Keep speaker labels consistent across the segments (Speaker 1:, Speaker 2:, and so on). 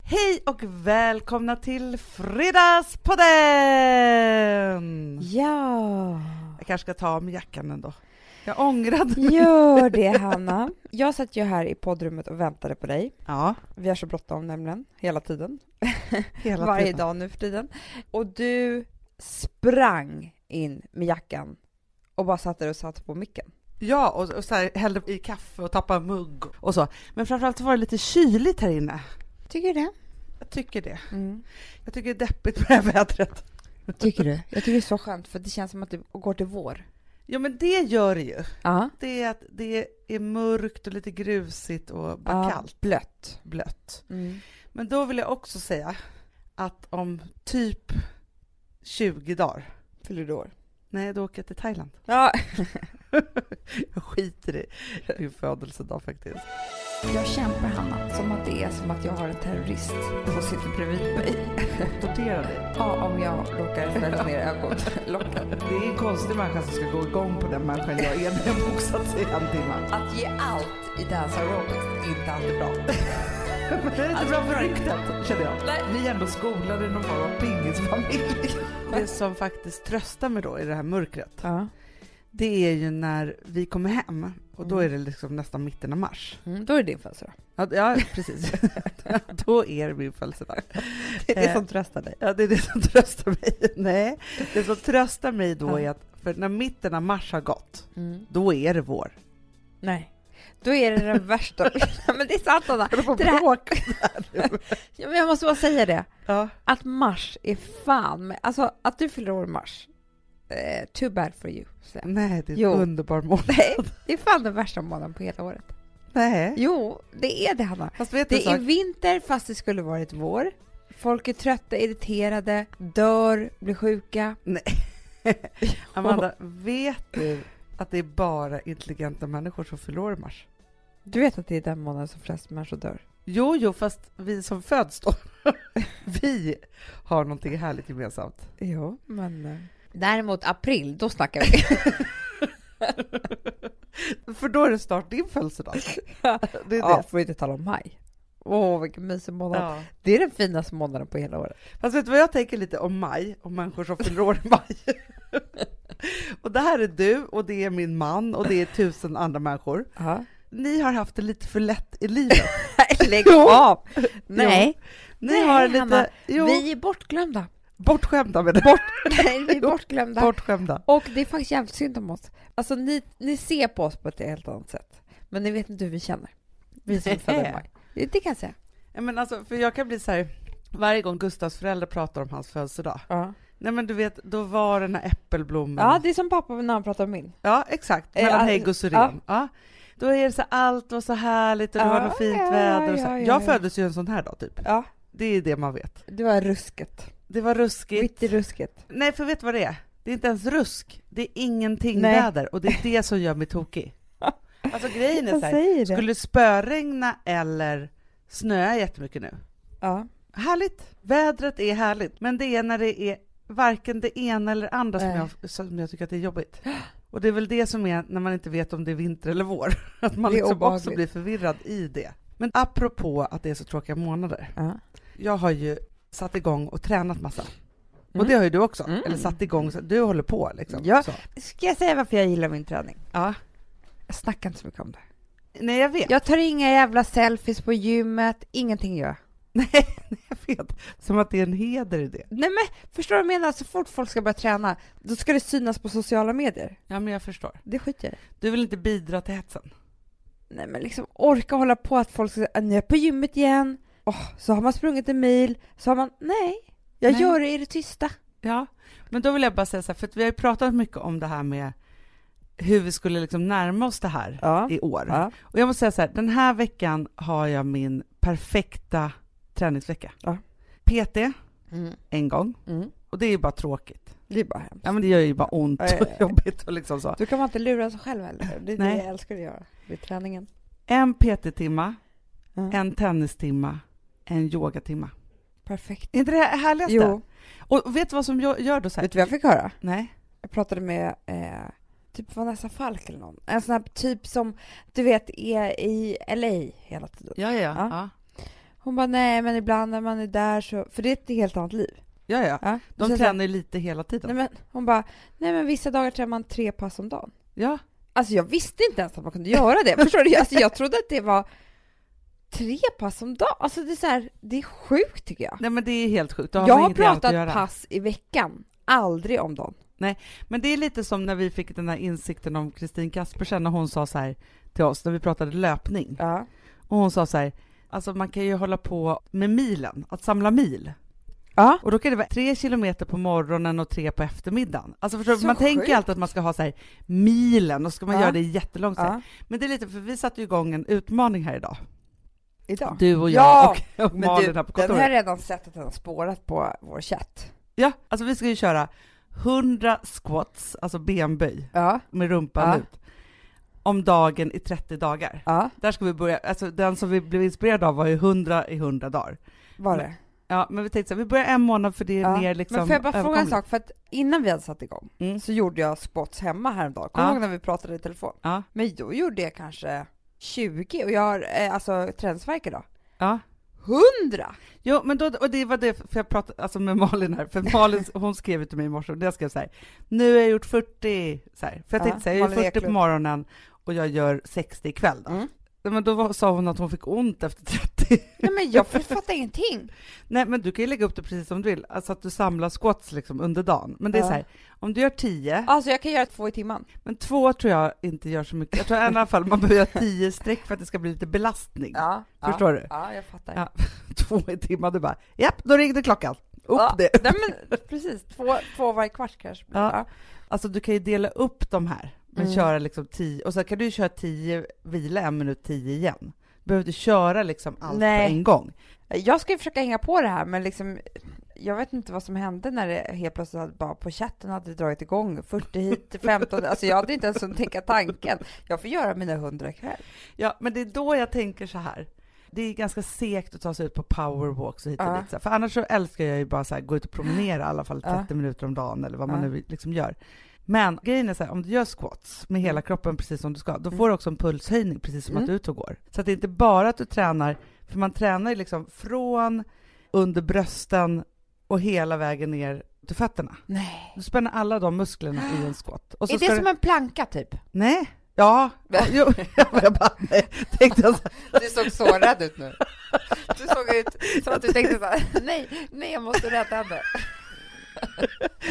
Speaker 1: Hej och välkomna till Fredagspodden!
Speaker 2: Ja,
Speaker 1: Jag kanske ska ta av mig jackan ändå. Jag ångrade mig.
Speaker 2: gör det Hanna. Jag satt ju här i poddrummet och väntade på dig.
Speaker 1: Ja,
Speaker 2: Vi har så bråttom nämligen, hela tiden.
Speaker 1: hela
Speaker 2: Varje
Speaker 1: tiden.
Speaker 2: dag nu för tiden. Och du sprang in med jackan och bara satte dig och satte på micken.
Speaker 1: Ja, och, och så här, hällde i kaffe och tappade mugg och så. Men framförallt så var det lite kyligt här inne.
Speaker 2: Tycker du det?
Speaker 1: Jag tycker det.
Speaker 2: Mm.
Speaker 1: Jag tycker det är deppigt med det här vädret.
Speaker 2: Tycker du? Jag tycker det är så skönt för det känns som att det går till vår.
Speaker 1: Ja, men det gör det ju.
Speaker 2: Ja.
Speaker 1: Det är att det är mörkt och lite grusigt och bara
Speaker 2: Ja.
Speaker 1: kallt,
Speaker 2: Blött.
Speaker 1: blött.
Speaker 2: Mm.
Speaker 1: Men då vill jag också säga att om typ 20 dagar,
Speaker 2: Fyller du år?
Speaker 1: nej då åker jag till Thailand.
Speaker 2: Ja.
Speaker 1: Jag skiter i min födelsedag faktiskt.
Speaker 2: Jag kämpar Hanna, som att det är som att jag har en terrorist som sitter bredvid mig.
Speaker 1: Tortera dig.
Speaker 2: Ja, om jag råkar fälla ner ögonlocken.
Speaker 1: Det är en konstig människa som ska gå igång på den människan jag är när jag boxat sig i en timme.
Speaker 2: Att ge allt i Dance Aerobics är inte alltid bra.
Speaker 1: Men det är inte bra Alltså, för ryktet, känner jag.
Speaker 2: Nej.
Speaker 1: Vi är ändå skolade i någon form av pingisfamilj. Det som faktiskt tröstar mig då i det här mörkret,
Speaker 2: Ja.
Speaker 1: det är ju när vi kommer hem och då är det liksom nästan mitten av mars.
Speaker 2: Mm, då är det din födelsedag.
Speaker 1: Ja, ja precis. då är det min födelsedag.
Speaker 2: Det
Speaker 1: är det som
Speaker 2: tröstar dig.
Speaker 1: Ja, det är det som tröstar mig. Nej, det som tröstar mig då
Speaker 2: Ja.
Speaker 1: är att för när mitten av mars har gått,
Speaker 2: Mm.
Speaker 1: då är det vår.
Speaker 2: Nej. Då är det den värsta... men det är sant Anna. Det här- Ja, men jag måste bara säga det.
Speaker 1: Ja.
Speaker 2: Att mars är fan med... Alltså att du fyller år i mars. Eh, too bad for you. Så.
Speaker 1: Nej, det är en
Speaker 2: Jo.
Speaker 1: underbar månad.
Speaker 2: Nej, det är fan den värsta månaden på hela året.
Speaker 1: Nej.
Speaker 2: Jo, det är det Hanna.
Speaker 1: Fast vet du en
Speaker 2: Det är
Speaker 1: sak?
Speaker 2: vinter fast det skulle varit vår. Folk är trötta, irriterade, dör, blir sjuka.
Speaker 1: Amanda, vet
Speaker 2: Mm.
Speaker 1: du att det är bara intelligenta människor som fyller år i mars?
Speaker 2: Du vet att det är den månaden som flest människor dör?
Speaker 1: Jo, jo, fast vi som föds då, vi har någonting härligt gemensamt.
Speaker 2: Jo, men... eh, Däremot april, då snackar vi.
Speaker 1: För då är det snart din födelsedag.
Speaker 2: Ja.
Speaker 1: Det är
Speaker 2: ja,
Speaker 1: det.
Speaker 2: får vi inte tala om maj. Åh, vilken mysig månad.
Speaker 1: Ja.
Speaker 2: Det är den finaste månaden på hela året.
Speaker 1: Fast vet du vad jag tänker lite om maj, om människor som fyller år i maj? och det här är du, och det är min man, och det är tusen andra människor.
Speaker 2: Ja.
Speaker 1: Ni har haft det lite för lätt i livet.
Speaker 2: Lägg av! Nej,
Speaker 1: Ni
Speaker 2: Nej,
Speaker 1: har lite...
Speaker 2: Hanna,
Speaker 1: jo,
Speaker 2: vi är bortglömda.
Speaker 1: bortskämda med det. Bort,
Speaker 2: Nej, vi är bortglömda.
Speaker 1: bortskämda.
Speaker 2: Och det är faktiskt jävligt synd om oss. Alltså, ni, ni ser på oss på ett helt annat sätt. Men ni vet inte hur vi känner. Vi som är födda i maj. Det det kan jag säga.
Speaker 1: Ja, Men alltså, för jag kan bli så här, varje gång Gustavs föräldrar pratar om hans födelsedag,
Speaker 2: Ja,
Speaker 1: nej men du vet, då var den här äppelblomman.
Speaker 2: ja det är som pappa när han pratar om min.
Speaker 1: Ja, exakt.
Speaker 2: Eh,
Speaker 1: Mellan
Speaker 2: all-
Speaker 1: hägg och syren. Ja.
Speaker 2: ja.
Speaker 1: Då är det så här, allt var så härligt och det
Speaker 2: Ja,
Speaker 1: var något fint
Speaker 2: ja,
Speaker 1: väder. Och så här.
Speaker 2: ja, ja,
Speaker 1: jag
Speaker 2: ja.
Speaker 1: föddes ju en sån här dag typ.
Speaker 2: Ja,
Speaker 1: Det är det man vet.
Speaker 2: det var rusket.
Speaker 1: Det var ruskigt.
Speaker 2: Mitt i rusket.
Speaker 1: Nej, för vet du vad det är? Det är inte ens rusk. Det är ingenting
Speaker 2: Nej.
Speaker 1: väder och det är det som gör mig tokig. Alltså grejen är
Speaker 2: Jag
Speaker 1: så här,
Speaker 2: säger det.
Speaker 1: skulle det spöregna eller snöa jättemycket nu?
Speaker 2: Ja.
Speaker 1: Härligt! Vädret är härligt, men det är när det är varken det ena eller det andra som
Speaker 2: Nej.
Speaker 1: jag, som jag tycker att det är jobbigt. Och det är väl det som är när man inte vet om det är vinter eller vår, att man
Speaker 2: Det är
Speaker 1: liksom också
Speaker 2: obehagligt.
Speaker 1: blir förvirrad i det. Men apropå att det är så tråkiga månader,
Speaker 2: ja.
Speaker 1: jag har ju satt igång och tränat massa. Och
Speaker 2: Mm.
Speaker 1: det har ju du också,
Speaker 2: Mm.
Speaker 1: eller satt igång, så du håller på liksom.
Speaker 2: Ja.
Speaker 1: Så.
Speaker 2: Ska jag säga varför jag gillar min träning?
Speaker 1: ja.
Speaker 2: Jag snackar inte så mycket om det.
Speaker 1: Nej jag vet,
Speaker 2: Jag tar inga jävla selfies på gymmet, ingenting gör jag.
Speaker 1: jag vet. Som att det är en heder i det.
Speaker 2: Nej men, förstår du vad jag menar? Så fort folk ska börja träna, då ska det synas på sociala medier.
Speaker 1: Ja men jag förstår.
Speaker 2: Det skiter jag i.
Speaker 1: Du vill inte bidra till hetsen?
Speaker 2: Nej men liksom orka hålla på att folk ska säga, nu är jag på gymmet igen, Åh, så har man sprungit en mil, så har man, nej, jag
Speaker 1: Nej.
Speaker 2: gör det i det tysta.
Speaker 1: Ja. Men då vill jag bara säga så här, för att vi har ju pratat mycket om det här med hur vi skulle liksom närma oss det här
Speaker 2: Ja.
Speaker 1: i år.
Speaker 2: Ja.
Speaker 1: Och jag måste säga så här, den här veckan har jag min perfekta träningsvecka.
Speaker 2: Ja.
Speaker 1: PT
Speaker 2: Mm.
Speaker 1: en gång,
Speaker 2: Mm.
Speaker 1: och det är ju bara tråkigt.
Speaker 2: Det är bara hemskt.
Speaker 1: Ja men det gör ju bara ont
Speaker 2: Ja, ja,
Speaker 1: och
Speaker 2: ja.
Speaker 1: jobbigt och liksom så.
Speaker 2: Då kan man inte lura sig själv heller. Det är
Speaker 1: Nej.
Speaker 2: det jag älskar att göra vid träningen.
Speaker 1: En PT-timma,
Speaker 2: Ja.
Speaker 1: en tennistimma, en yogatimma.
Speaker 2: Perfekt.
Speaker 1: Är inte det här härligaste?
Speaker 2: Jo,
Speaker 1: Och vet du vad som jag gör då så här?
Speaker 2: vet du vad jag fick höra?
Speaker 1: Nej.
Speaker 2: Jag pratade med eh, typ Vanessa Falk eller någon. En sån här typ som du vet är i LA hela tiden.
Speaker 1: Ja, ja, ja.
Speaker 2: Ja. Hon bara, nej men ibland när man är där så, för det är ett helt annat liv.
Speaker 1: Ja, ja.
Speaker 2: Ja.
Speaker 1: De
Speaker 2: Så jag sa,
Speaker 1: tränar ju lite hela tiden.
Speaker 2: nej, men, hon bara, nej men vissa dagar tränar man tre pass om dagen.
Speaker 1: Ja,
Speaker 2: Alltså jag visste inte ens att man kunde göra det, förstår du? Alltså jag trodde att det var tre pass om dagen. Alltså det är så här, det är sjukt tycker jag.
Speaker 1: nej men det är helt sjukt. Då har
Speaker 2: Jag
Speaker 1: man
Speaker 2: har
Speaker 1: ingenting annat att göra.
Speaker 2: pratat pass i veckan, aldrig om dagen.
Speaker 1: Men det är lite som när vi fick den här insikten om Kristin Kaspersen när hon sa så här till oss, när vi pratade löpning.
Speaker 2: Ja.
Speaker 1: Och hon sa så här, alltså man kan ju hålla på med milen, att samla mil.
Speaker 2: Ja.
Speaker 1: Och då kan det vara tre kilometer på morgonen och tre på eftermiddagen. Alltså förstår, du,
Speaker 2: Så
Speaker 1: man tänker ju
Speaker 2: sjukt.
Speaker 1: alltid att man ska ha så här milen och så ska man
Speaker 2: Ja.
Speaker 1: göra det jättelångt. så här.
Speaker 2: ja.
Speaker 1: Men det är lite, för vi satte ju igång en utmaning här idag.
Speaker 2: Idag.
Speaker 1: Du och jag
Speaker 2: Ja,
Speaker 1: och, och
Speaker 2: Men
Speaker 1: Malin
Speaker 2: du,
Speaker 1: här på
Speaker 2: den har jag
Speaker 1: kontoret.
Speaker 2: redan sett att den har spårat på vår chatt.
Speaker 1: Ja, alltså vi ska ju köra 100 squats, alltså benböj
Speaker 2: Ja,
Speaker 1: med rumpan
Speaker 2: Ja.
Speaker 1: ut, om dagen i 30 dagar.
Speaker 2: ja,
Speaker 1: Där ska vi börja, alltså den som vi blev inspirerade av var ju 100 i 100 dagar.
Speaker 2: var det.
Speaker 1: Ja, men vi tänkte så här, vi börjar en månad för det är
Speaker 2: Ja.
Speaker 1: mer liksom
Speaker 2: Men får jag bara fråga en
Speaker 1: överkomligt.
Speaker 2: sak? För att innan vi hade satt igång
Speaker 1: Mm.
Speaker 2: så gjorde jag spots hemma häromdagen. Kommer
Speaker 1: Ja.
Speaker 2: du ihåg när vi pratade i telefon?
Speaker 1: Ja.
Speaker 2: Men då gjorde jag kanske 20 och jag har eh, alltså träningsvärk idag.
Speaker 1: Ja.
Speaker 2: 100!
Speaker 1: Jo, men då, och det var det, för jag pratade alltså med Malin här, för Malin hon skrev ju till mig i morse, och jag skrev så här, nu har jag gjort 40, så här. för jag
Speaker 2: Ja,
Speaker 1: tänkte så här, jag gör
Speaker 2: Malin
Speaker 1: 40 på
Speaker 2: Eklund.
Speaker 1: morgonen och jag gör 60 ikväll då. Nej, Men då var, sa hon att hon fick ont efter 30.
Speaker 2: Nej men jag fattar ingenting.
Speaker 1: Nej, men du kan ju lägga upp det precis som du vill, alltså att du samlar squats liksom under dagen. Men det är
Speaker 2: Ja.
Speaker 1: så här, om du gör 10,
Speaker 2: Alltså jag kan göra två i timmen.
Speaker 1: Men två tror jag inte gör så mycket. Jag tror i alla fall man behöver göra tio streck för att det ska bli lite belastning.
Speaker 2: Ja,
Speaker 1: Förstår du?
Speaker 2: Ja, jag fattar.
Speaker 1: Ja. Två i timmar, du bara japp, då ringde klockan. Upp
Speaker 2: Ja,
Speaker 1: det.
Speaker 2: Nej men precis, två, två varje kvart kanske.
Speaker 1: Ja. Alltså du kan ju dela upp de här, men
Speaker 2: Mm.
Speaker 1: köra liksom tio, och sen kan du ju köra tio, vila en minut, tio igen. Du behöver inte köra liksom allt
Speaker 2: Nej.
Speaker 1: på en gång.
Speaker 2: Jag ska ju försöka hänga på det här, men liksom, jag vet inte vad som hände när det helt plötsligt hade, bara på chatten hade det dragit igång 40 hit till 15. Alltså jag hade inte ens hunnit tänka tanken. Jag får göra mina 100 ikväll.
Speaker 1: Ja, men det är då jag tänker så här. Det är ganska segt att ta sig ut på powerwalks och hit och
Speaker 2: Ja.
Speaker 1: dit. så här. För annars så älskar jag ju bara så här, gå ut och promenera i alla fall 30
Speaker 2: Ja.
Speaker 1: minuter om dagen eller vad man
Speaker 2: Ja.
Speaker 1: nu liksom gör. Men grejen är så här, om du gör squats med hela kroppen precis som du ska, då
Speaker 2: Mm.
Speaker 1: får du också en pulshöjning precis som
Speaker 2: Mm.
Speaker 1: att du är ute och går. Så att det är inte bara att du tränar, för man tränar ju liksom från under brösten och hela vägen ner till fötterna.
Speaker 2: Nej.
Speaker 1: Du spänner alla de musklerna i en squat. Och så
Speaker 2: Är
Speaker 1: ska
Speaker 2: det
Speaker 1: du...
Speaker 2: som en planka typ?
Speaker 1: Nej. Ja, ja, jo, jag bara, nej, tänkte jag så här.
Speaker 2: Du såg sårad ut nu. Du såg ut som att du tänkte så här, nej, nej, jag måste rädda henne.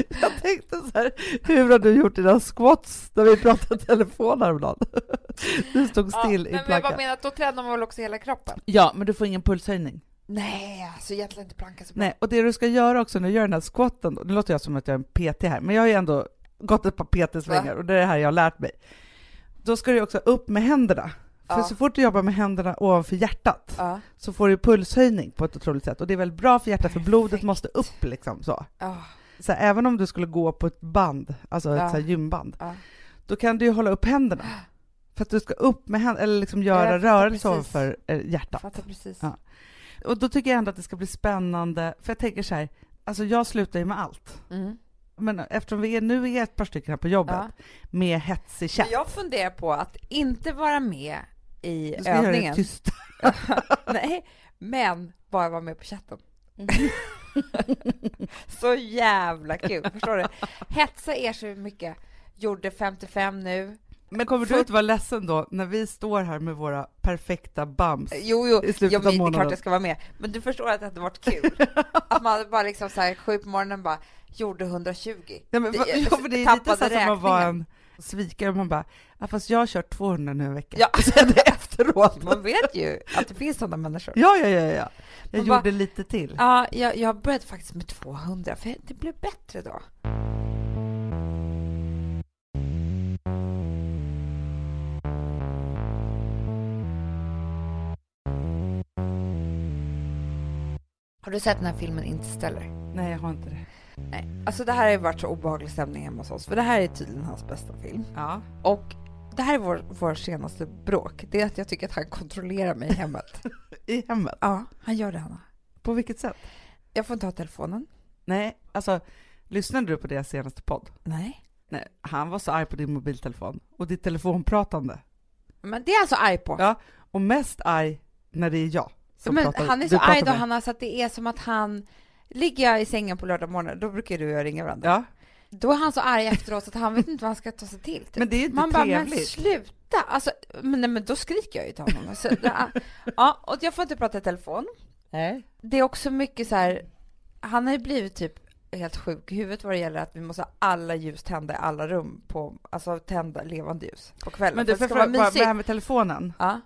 Speaker 1: Jag tänkte så här, hur har du gjort dina squats när vi pratade telefon häromdagen? Du stod still i plankan.
Speaker 2: menar att då tränar man väl också hela kroppen?
Speaker 1: Ja, men du får ingen pulshöjning.
Speaker 2: Nej, alltså egentligen inte planka så bra.
Speaker 1: Nej, och det du ska göra också när du gör den här squatten, då- nu låter jag som att jag är en PT här, men jag har ju ändå gått ett par PT-svängar och det är det här jag har lärt mig. Då ska du också upp med händerna. För
Speaker 2: Ja.
Speaker 1: så fort du jobbar med händerna ovanför hjärtat
Speaker 2: Ja.
Speaker 1: så får du pulshöjning på ett otroligt sätt. Och det är väldigt bra för hjärtat, för blodet
Speaker 2: Perfekt.
Speaker 1: måste upp liksom så.
Speaker 2: Ja.
Speaker 1: så här, även om du skulle gå på ett band, alltså ett
Speaker 2: Ja.
Speaker 1: så här gymband,
Speaker 2: Ja.
Speaker 1: då kan du ju hålla upp händerna. För att du ska upp med händerna, eller liksom göra
Speaker 2: jag fattar
Speaker 1: rörelse
Speaker 2: precis.
Speaker 1: ovanför eh, hjärtat.
Speaker 2: Fattar precis.
Speaker 1: Ja. Och då tycker jag ändå att det ska bli spännande, för jag tänker så här, alltså jag slutar ju med allt.
Speaker 2: Mm.
Speaker 1: Men eftersom vi är, nu är ett par stycken här på jobbet
Speaker 2: Ja.
Speaker 1: med hetsig chatt.
Speaker 2: Jag funderar på att inte vara med i
Speaker 1: Du ska göra det
Speaker 2: övningen.
Speaker 1: tyst.
Speaker 2: Nej, men bara vara med på chatten.
Speaker 1: Mm.
Speaker 2: så jävla kul, förstår du? Hetsa er så mycket. Gjorde 55 nu.
Speaker 1: Men kommer du
Speaker 2: För-
Speaker 1: inte vara ledsen då när vi står här med våra perfekta bums?
Speaker 2: Jo, jo,
Speaker 1: I slutet
Speaker 2: jo
Speaker 1: av
Speaker 2: men det är
Speaker 1: månaden.
Speaker 2: klart jag ska vara med. Men du förstår att det hade varit kul. att man bara liksom så här, sju på morgonen bara, gjorde 120.
Speaker 1: Ja, men,
Speaker 2: Det-
Speaker 1: va-
Speaker 2: jag
Speaker 1: ja, för det är lite
Speaker 2: tappade
Speaker 1: så här som att vara
Speaker 2: räkningen.
Speaker 1: en svikare, man bara ja, “fast jag har kört 200 nu en vecka”.
Speaker 2: Ja.
Speaker 1: Och sen det efteråt.
Speaker 2: Man vet ju att det finns sådana människor.
Speaker 1: Ja, ja, ja, ja. Jag
Speaker 2: Man bara-
Speaker 1: gjorde lite till.
Speaker 2: Ja, jag, jag började faktiskt med 200, för det blev bättre då. Har du sett den här filmen Interstellar?
Speaker 1: Nej, jag har inte det.
Speaker 2: Nej. Alltså det här har ju varit så obehaglig stämning hemma hos oss, för det här är tydligen hans bästa film.
Speaker 1: Ja.
Speaker 2: Och det här är vår, vår senaste bråk, det är att jag tycker att han kontrollerar mig i hemmet.
Speaker 1: I hemmet.
Speaker 2: ja, han gör det Hanna.
Speaker 1: På vilket sätt?
Speaker 2: Jag får inte ha telefonen.
Speaker 1: Nej, alltså lyssnade du på deras senaste podd?
Speaker 2: Nej.
Speaker 1: Nej, han var så arg på din mobiltelefon och ditt telefonpratande.
Speaker 2: Men det är alltså arg på?
Speaker 1: Ja. Och mest arg när det är jag som
Speaker 2: men
Speaker 1: pratar,
Speaker 2: han är
Speaker 1: du
Speaker 2: så
Speaker 1: pratar
Speaker 2: arg då
Speaker 1: med.
Speaker 2: Hanna så att det är som att han... Ligger jag i sängen på lördag morgon, då brukar du och jag ringa varandra.
Speaker 1: Ja,
Speaker 2: Då är han så arg efteråt så att han vet inte vad han ska ta sig till. Typ.
Speaker 1: men det är ju inte
Speaker 2: Man bara, men
Speaker 1: trevligt.
Speaker 2: sluta! Alltså, men, nej, men då skriker jag ju till honom. Alltså, ja. ja, och jag får inte prata i telefon.
Speaker 1: Nej.
Speaker 2: Det är också mycket så här, han har ju blivit typ helt sjuk i huvudet vad det gäller att vi måste ha alla ljus tända i alla rum på, alltså tända levande ljus på kvällen.
Speaker 1: Men du,
Speaker 2: för
Speaker 1: får
Speaker 2: att
Speaker 1: jag
Speaker 2: det ska
Speaker 1: fråga bara,
Speaker 2: vara
Speaker 1: det
Speaker 2: mysigt.
Speaker 1: här med telefonen.
Speaker 2: Ja,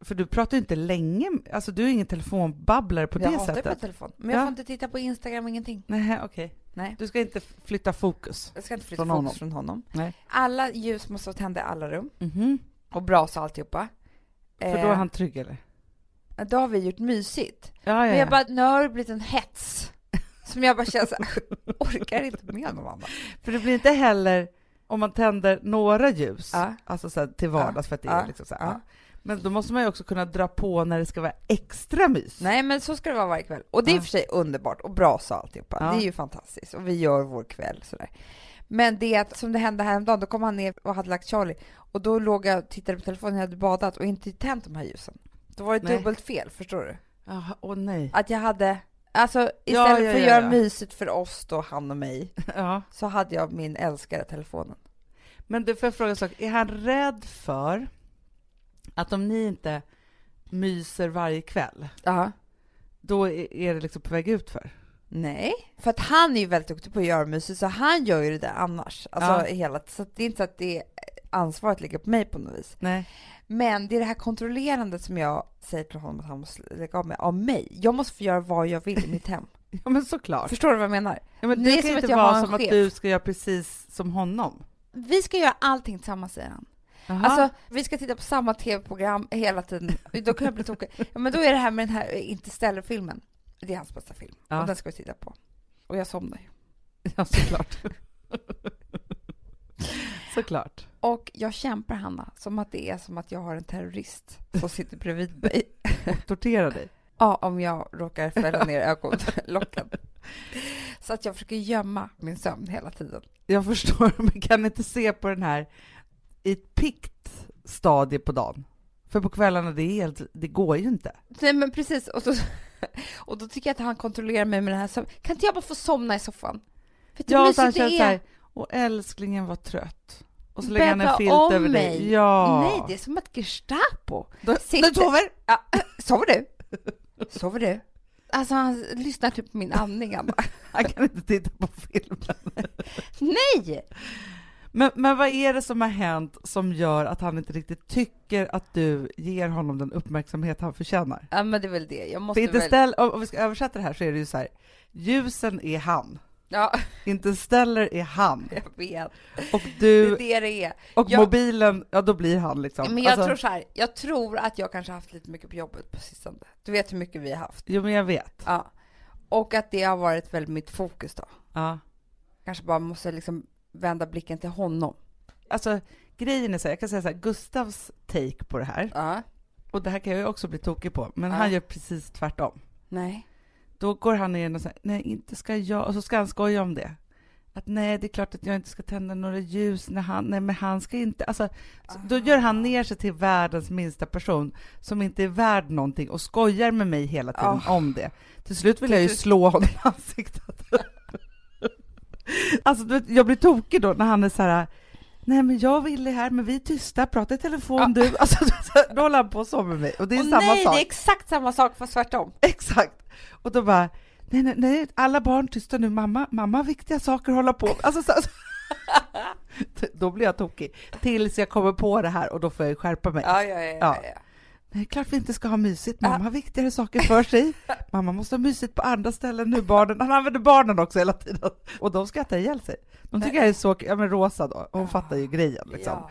Speaker 1: För du pratar ju inte länge, alltså du är ingen telefonbabblare på
Speaker 2: jag
Speaker 1: det
Speaker 2: hatar ju på
Speaker 1: sättet.
Speaker 2: telefon. Men jag
Speaker 1: Ja.
Speaker 2: får inte titta på Instagram, ingenting.
Speaker 1: Nej, okej.
Speaker 2: Nej.
Speaker 1: Du ska inte f- flytta fokus.
Speaker 2: Jag ska inte flytta
Speaker 1: Från
Speaker 2: fokus
Speaker 1: honom.
Speaker 2: från honom.
Speaker 1: Nej.
Speaker 2: Alla ljus måste vara tända i alla rum.
Speaker 1: Mhm.
Speaker 2: Och brasa och alltihopa.
Speaker 1: För då är han trygg eller?
Speaker 2: eh, då har vi gjort mysigt.
Speaker 1: Ja, ja,
Speaker 2: Men jag
Speaker 1: ja.
Speaker 2: bara, nu har det blivit en hets. Som jag bara känner så här, orkar inte med någon annan.
Speaker 1: För det blir inte heller, om man tänder några ljus,
Speaker 2: Ja.
Speaker 1: alltså så här, till vardags för att det
Speaker 2: Ja.
Speaker 1: är liksom så här,
Speaker 2: Ja.
Speaker 1: ja. Men då måste man ju också kunna dra på när det ska vara extra mys.
Speaker 2: Nej men så ska det vara varje kväll. Och det är i och
Speaker 1: Ja.
Speaker 2: för sig underbart och brasa och alltihopa.
Speaker 1: Ja.
Speaker 2: Det är ju fantastiskt. Och vi gör vår kväll sådär. Men det att- som det hände häromdagen, då kom han ner och hade lagt Charlie. Och då låg jag och tittade på telefonen, jag hade badat och inte tänt de här ljusen. Då var det
Speaker 1: Nej.
Speaker 2: dubbelt fel, förstår du?
Speaker 1: Jaha, åh nej.
Speaker 2: Att jag hade, alltså istället
Speaker 1: ja,
Speaker 2: för att
Speaker 1: ja,
Speaker 2: göra
Speaker 1: ja.
Speaker 2: mysigt för oss då, han och mig,
Speaker 1: Ja.
Speaker 2: så hade jag min älskade telefonen.
Speaker 1: Men du, får jag fråga en sak? Är han rädd för att om ni inte myser varje kväll,
Speaker 2: Ja.
Speaker 1: då är är det liksom på väg ut för?
Speaker 2: Nej, för att han är ju väldigt duktig på att göra musik så han gör ju det där annars. Alltså hela, så att det är inte så att det ansvaret ligger på mig på något vis.
Speaker 1: Nej.
Speaker 2: Men det är det här kontrollerandet som jag säger till honom att han måste lägga av med av mig. Jag måste få göra vad jag vill i mitt hem.
Speaker 1: Ja, men såklart.
Speaker 2: Förstår du vad jag menar?
Speaker 1: Ja, men
Speaker 2: Det är
Speaker 1: det kan
Speaker 2: som
Speaker 1: ju
Speaker 2: att
Speaker 1: inte
Speaker 2: jag har
Speaker 1: vara
Speaker 2: en
Speaker 1: som att
Speaker 2: chef.
Speaker 1: du ska göra precis som honom.
Speaker 2: Vi ska göra allting tillsammans säger han.
Speaker 1: Jaha.
Speaker 2: Alltså vi ska titta på samma tv-program hela tiden. Då kan jag bli tokig. Ja, men då är det här med den här Interstellar-filmen. Det är hans bästa film.
Speaker 1: Ja.
Speaker 2: Och den ska vi titta på. Och jag somnar ju.
Speaker 1: Ja, såklart. såklart.
Speaker 2: Och jag kämpar, Hanna, som att det är som att jag har en terrorist som sitter bredvid mig.
Speaker 1: Tortera dig.
Speaker 2: Ja, om jag råkar fälla ner ögonlocken. Så att jag försöker gömma min sömn hela tiden.
Speaker 1: Jag förstår, men kan inte se på den här i ett pikt stadie på dagen? För på kvällarna, det, är helt, det går ju inte.
Speaker 2: Nej, men precis. Och då, och då tycker jag att han kontrollerar mig med den här sömnen. Kan inte jag bara få somna i soffan? Vet du hur
Speaker 1: Ja, så han
Speaker 2: mysigt
Speaker 1: känner
Speaker 2: det
Speaker 1: så
Speaker 2: är?
Speaker 1: här, och älsklingen var trött. Och så lägger han
Speaker 2: Bädda
Speaker 1: en filt
Speaker 2: om
Speaker 1: över
Speaker 2: mig.
Speaker 1: dig. Ja.
Speaker 2: Nej, det är som att Gestapo
Speaker 1: Då-
Speaker 2: sitter...
Speaker 1: du sover?
Speaker 2: Ja, sover du? Sover du? Alltså, han lyssnar typ på min andning, Anna.
Speaker 1: Han kan inte titta på filmen.
Speaker 2: Nej!
Speaker 1: Men, men vad är det som har hänt som gör att han inte riktigt tycker att du ger honom den uppmärksamhet han förtjänar?
Speaker 2: Ja, men det är väl det. Jag
Speaker 1: För
Speaker 2: måste
Speaker 1: inte
Speaker 2: väl...
Speaker 1: ställ, om om vi ska översätta det här så är det ju så här, ljusen är han,
Speaker 2: Ja,
Speaker 1: inte ställer är han,
Speaker 2: jag vet.
Speaker 1: och
Speaker 2: Det är
Speaker 1: du
Speaker 2: det det är.
Speaker 1: och
Speaker 2: jag-
Speaker 1: mobilen, ja då blir han liksom.
Speaker 2: Men jag
Speaker 1: Alltså,
Speaker 2: tror så här, jag tror att jag kanske haft lite mycket på jobbet på sistone. Du vet hur mycket vi har haft.
Speaker 1: Jo men jag vet.
Speaker 2: Ja. Och att det har varit väl mitt fokus då.
Speaker 1: Ja.
Speaker 2: Kanske bara måste liksom vända blicken till honom.
Speaker 1: Alltså grejen är så här, jag kan säga så här, Gustavs take på det här,
Speaker 2: Ja.
Speaker 1: och det här kan jag ju också bli tokig på, men
Speaker 2: Ja.
Speaker 1: han gör precis tvärtom.
Speaker 2: Nej.
Speaker 1: Då går han in och säger, nej inte ska jag, och så ska han skoja om det. Att nej, det är klart att jag inte ska tända några ljus när han, nej men han ska inte, alltså Så Då gör
Speaker 2: Ah.
Speaker 1: han ner sig till världens minsta person som inte är värd någonting och skojar med mig hela tiden
Speaker 2: Ah.
Speaker 1: om det. Till slut vill
Speaker 2: Till
Speaker 1: jag ju
Speaker 2: slut-
Speaker 1: slå honom i ansiktet. alltså, du vet, jag blir tokig då när han är så här Nej men jag ville här, men vi är tysta, prata i telefon
Speaker 2: Ah.
Speaker 1: du. Alltså, så- då håller han på så med mig och det är
Speaker 2: Åh,
Speaker 1: samma
Speaker 2: nej,
Speaker 1: sak.
Speaker 2: det är exakt samma sak fast tvärtom.
Speaker 1: Exakt! Och då bara, nej, nej, nej, alla barn tysta nu, mamma, mamma har viktiga saker att hålla på med. Alltså, så, så. Då blir jag tokig. Tills jag kommer på det här och då får jag ju skärpa mig.
Speaker 2: Ja, ja, ja. ja. ja.
Speaker 1: Nej, klart vi inte ska ha mysigt. Mamma har viktigare saker för sig. Mamma måste ha mysigt på andra ställen nu, barnen. Han använder barnen också hela tiden. Och de skrattar ihjäl sig. De tycker jag är så... Ja, men Rosa då, hon fattar ju grejen liksom.
Speaker 2: Ja.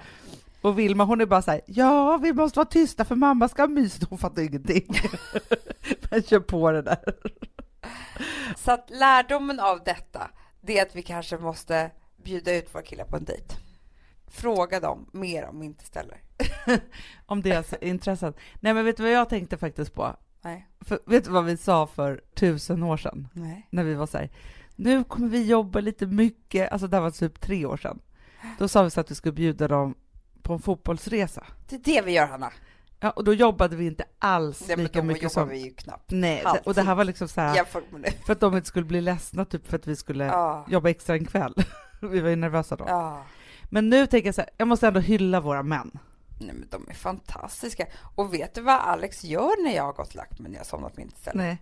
Speaker 1: Och Vilma hon är bara så här, ja vi måste vara tysta för mamma ska ha mysigt, hon fattar ju ingenting. Men kör på det där.
Speaker 2: Så att lärdomen av detta, det är att vi kanske måste bjuda ut våra killar på en dejt. Fråga dem mer om inte ställer.
Speaker 1: Om deras intressen. Nej men vet du vad jag tänkte faktiskt på?
Speaker 2: Nej.
Speaker 1: För, vet du vad vi sa för tusen år sedan?
Speaker 2: Nej.
Speaker 1: När vi var så här, nu kommer vi jobba lite mycket, alltså det här var typ tre år sedan. Då sa vi så att vi skulle bjuda dem på en fotbollsresa.
Speaker 2: Det är det vi gör, Hanna.
Speaker 1: Ja, och då jobbade vi inte alls
Speaker 2: Nej, men
Speaker 1: lika
Speaker 2: då jobbar
Speaker 1: mycket som...
Speaker 2: vi ju knappt
Speaker 1: Nej,
Speaker 2: Alltid.
Speaker 1: och det här var liksom så här,
Speaker 2: jämfört med nu.
Speaker 1: för att de inte skulle bli ledsna typ för att vi skulle
Speaker 2: Ja.
Speaker 1: jobba extra en kväll. vi var ju nervösa då.
Speaker 2: Ja.
Speaker 1: Men nu tänker jag så här, jag måste ändå hylla våra män.
Speaker 2: Nej men de är fantastiska. Och vet du vad Alex gör när jag har gått och lagt mig när jag har somnat på mitt ställe?
Speaker 1: Nej,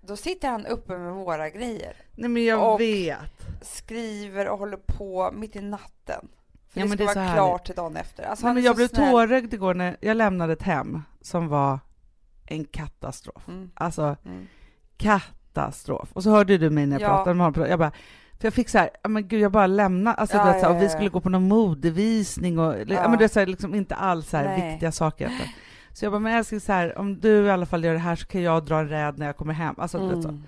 Speaker 2: Då sitter han uppe med våra grejer.
Speaker 1: Nej men jag
Speaker 2: Och-
Speaker 1: vet.
Speaker 2: Skriver och håller på mitt i natten. För
Speaker 1: Ja,
Speaker 2: det
Speaker 1: men
Speaker 2: ska
Speaker 1: det är så
Speaker 2: vara
Speaker 1: härligt.
Speaker 2: klart till dagen efter. Alltså,
Speaker 1: Nej,
Speaker 2: han
Speaker 1: men
Speaker 2: är
Speaker 1: jag
Speaker 2: så
Speaker 1: blev
Speaker 2: snäll.
Speaker 1: tårögd igår när jag lämnade ett hem som var en katastrof.
Speaker 2: Mm,
Speaker 1: Alltså
Speaker 2: mm.
Speaker 1: katastrof. Och så hörde du mig när jag
Speaker 2: Ja.
Speaker 1: pratade med honom. på- Jag bara, för jag fick så här, ja, men gud jag bara lämnar. Alltså,
Speaker 2: Ja,
Speaker 1: du vet, så här,
Speaker 2: ja,
Speaker 1: och vi
Speaker 2: ja,
Speaker 1: skulle
Speaker 2: ja.
Speaker 1: gå på någon modevisning och ja.
Speaker 2: Ja.
Speaker 1: men det är så här, liksom inte alls så här
Speaker 2: Nej.
Speaker 1: viktiga saker. Så jag bara, men älskling så här, om du i alla fall gör det här så kan jag dra en räd när jag kommer hem. Alltså, du vet, så.
Speaker 2: Mm,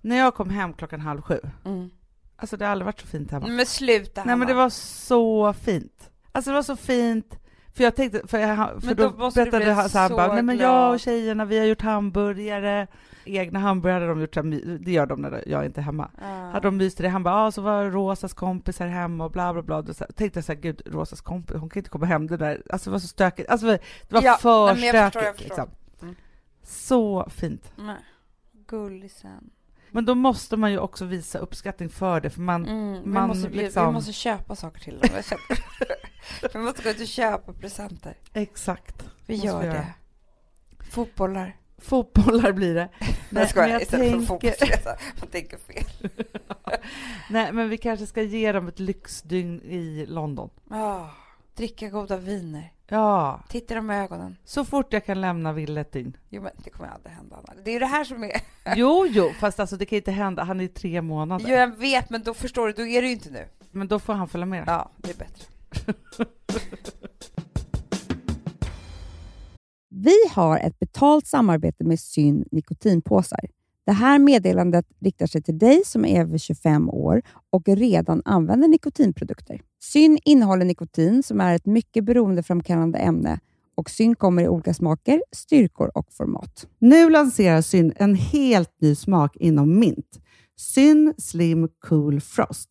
Speaker 1: När jag kom hem klockan halv sju,
Speaker 2: mm.
Speaker 1: alltså det har aldrig varit så fint hemma.
Speaker 2: Nej, Men sluta
Speaker 1: Nej men
Speaker 2: Hanna.
Speaker 1: det var så fint. Alltså det var så fint. För jag tänkte, för, jag, för
Speaker 2: Men
Speaker 1: då,
Speaker 2: då måste du
Speaker 1: berättade
Speaker 2: bli
Speaker 1: han så han
Speaker 2: så
Speaker 1: bara, nej men jag och
Speaker 2: glad."
Speaker 1: tjejerna vi har gjort hamburgare, egna hamburgare hade de gjort, så här my- det gör de när jag inte är hemma.
Speaker 2: Ja.
Speaker 1: Hade de myst i det, han bara, ah, så var Rosas kompisar hemma och bla bla bla. Då så här, tänkte jag så här, gud Rosas kompis, hon kan inte komma hem det där, alltså det var så stökigt, alltså det var
Speaker 2: Ja,
Speaker 1: för
Speaker 2: nej, men jag förstår, jag
Speaker 1: stökigt
Speaker 2: förstår.
Speaker 1: liksom.
Speaker 2: Mm.
Speaker 1: Så fint.
Speaker 2: Nej. Gullisen.
Speaker 1: Men då måste man ju också visa uppskattning för det, för man,
Speaker 2: Mm, vi,
Speaker 1: man
Speaker 2: måste, bjud-
Speaker 1: liksom-
Speaker 2: vi måste köpa saker till dem. Jag känner- vi måste gå ut och köpa presenter.
Speaker 1: exakt.
Speaker 2: Vi
Speaker 1: Måste
Speaker 2: gör
Speaker 1: vi göra.
Speaker 2: det. Fotbollar.
Speaker 1: Fotbollar blir det.
Speaker 2: Nej, jag jag
Speaker 1: jag
Speaker 2: istället tänker... för
Speaker 1: tänker-
Speaker 2: fotbollsresa. Man tänker fel.
Speaker 1: Nej, men vi kanske ska ge dem ett lyxdygn i London.
Speaker 2: Ah, dricka goda viner.
Speaker 1: Ja,
Speaker 2: Titta dem i ögonen.
Speaker 1: så fort jag kan lämna Ville ett dygn.
Speaker 2: Jo, men det kommer aldrig hända. Anna. Det är ju det här som är...
Speaker 1: Jo, jo, fast alltså det kan ju inte hända. Han är i tre månader.
Speaker 2: Jo, jag vet, men då förstår du. Då är det ju inte nu.
Speaker 1: Men då får han följa med.
Speaker 2: Ja, det är bättre.
Speaker 3: Vi har ett betalt samarbete med Syn nikotinpåsar. Det här meddelandet riktar sig till dig som är över 25 år och redan använder nikotinprodukter. Syn innehåller nikotin som är ett mycket beroendeframkallande ämne och Syn kommer i olika smaker, styrkor och format.
Speaker 1: Nu lanserar Syn en helt ny smak inom mint. Syn Slim Cool Frost,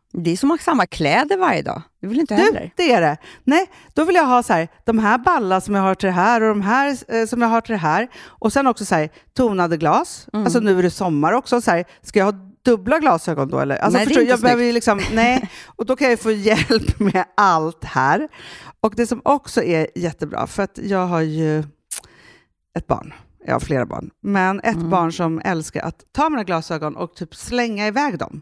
Speaker 3: Det är som att ha samma kläder varje dag. Det vill inte
Speaker 1: Du,
Speaker 3: heller.
Speaker 1: det är det. Nej, då vill jag ha så här, de här balla som jag har till det här och de här eh, som jag har till det här. Och sen också så här, tonade glas.
Speaker 3: Mm.
Speaker 1: Alltså nu är det sommar också. Så här, ska jag ha dubbla glasögon då eller? Alltså,
Speaker 3: Nej, det är
Speaker 1: förstår, du,
Speaker 3: inte
Speaker 1: jag behöver ju
Speaker 3: snyggt.
Speaker 1: liksom, nej. Och då kan jag ju få hjälp med allt här. Och det som också är jättebra, för att jag har ju ett barn. Jag har flera barn. Men ett
Speaker 3: Mm.
Speaker 1: barn som älskar att ta mina glasögon och typ slänga iväg dem.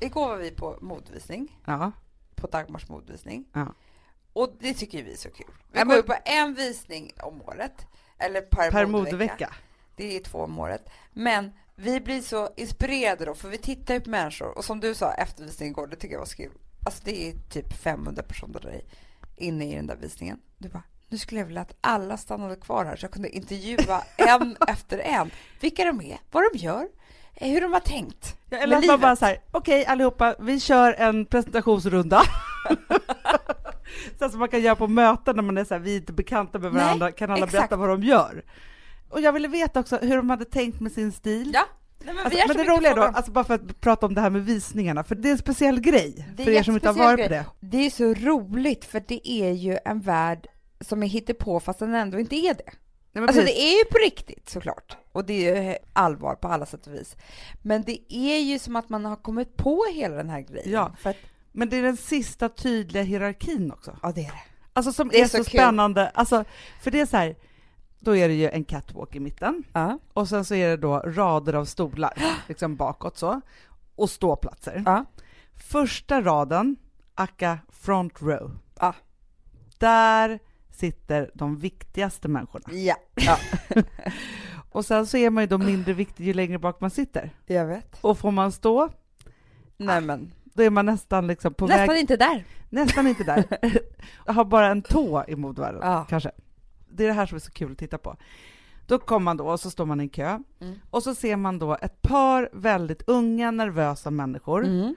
Speaker 2: Igår var vi på modvisning,
Speaker 4: Ja.
Speaker 2: på Dagmars modvisning.
Speaker 4: Ja.
Speaker 2: Och det tycker ju vi är så kul. Vi
Speaker 4: Ja,
Speaker 2: går
Speaker 4: men-
Speaker 2: ju på en visning om året. Eller per,
Speaker 4: Per
Speaker 2: modevecka.
Speaker 4: modevecka.
Speaker 2: Det är två om året. Men vi blir så inspirerade då, för vi tittar ju på människor. Och som du sa, eftervisningen igår, det tycker jag var så kul. Alltså det är typ 500 personer där i- inne i den där visningen. Du bara, nu skulle jag vilja att alla stannade kvar här så jag kunde intervjua en efter en. Vilka de är, vad de gör, eh, hur de har tänkt.
Speaker 1: Ja,
Speaker 2: med
Speaker 1: eller att man
Speaker 2: livet.
Speaker 1: bara så här, okej allihopa, vi kör en presentationsrunda. så som man kan göra på möten när man är så här, vi är inte bekanta med
Speaker 2: Nej,
Speaker 1: varandra, kan alla
Speaker 2: exakt.
Speaker 1: berätta vad de gör? Och jag ville veta också hur de hade tänkt med sin stil.
Speaker 2: Ja, Nej, men, vi
Speaker 1: Alltså, men
Speaker 2: har så
Speaker 1: det
Speaker 2: mycket
Speaker 1: roliga då,
Speaker 2: frågor om-
Speaker 1: alltså bara för att prata om det här med visningarna, för det är en speciell grej
Speaker 2: Det är
Speaker 1: för er som inte har varit på
Speaker 2: jättespeciell
Speaker 1: det.
Speaker 2: Det är så roligt för det är ju en värld som är hittepå fast den ändå inte är det.
Speaker 1: Nej, men
Speaker 2: Alltså
Speaker 1: precis.
Speaker 2: det är ju på riktigt såklart. Och det är ju allvar på alla sätt och vis. Men det är ju som att man har kommit på hela den här grejen.
Speaker 1: Ja.
Speaker 2: För att,
Speaker 1: Men det är den sista tydliga hierarkin också.
Speaker 2: ja det är det.
Speaker 1: Alltså som
Speaker 2: Det är
Speaker 1: är,
Speaker 2: så
Speaker 1: så,
Speaker 2: kul.
Speaker 1: spännande. Alltså, för det är så här, då är det ju en catwalk i mitten
Speaker 2: Ja.
Speaker 1: och sen så är det då rader av stolar liksom bakåt så och ståplatser.
Speaker 2: Ja.
Speaker 1: Första raden, aka front row.
Speaker 2: Ja.
Speaker 1: Där sitter de viktigaste människorna.
Speaker 2: ja.
Speaker 1: Och sen så är man ju då mindre viktig ju längre bak man sitter.
Speaker 2: Jag vet.
Speaker 1: Och får man stå,
Speaker 2: Nej men.
Speaker 1: då är man nästan liksom på
Speaker 2: Nästan
Speaker 1: väg
Speaker 2: inte där.
Speaker 1: Nästan inte där. Jag har bara en tå i modvärlden,
Speaker 2: Ja.
Speaker 1: kanske. Det är det här som är så kul att titta på. Då kommer man då och så står man i en kö
Speaker 2: Mm.
Speaker 1: och så ser man då ett par väldigt unga, nervösa människor
Speaker 2: Mm.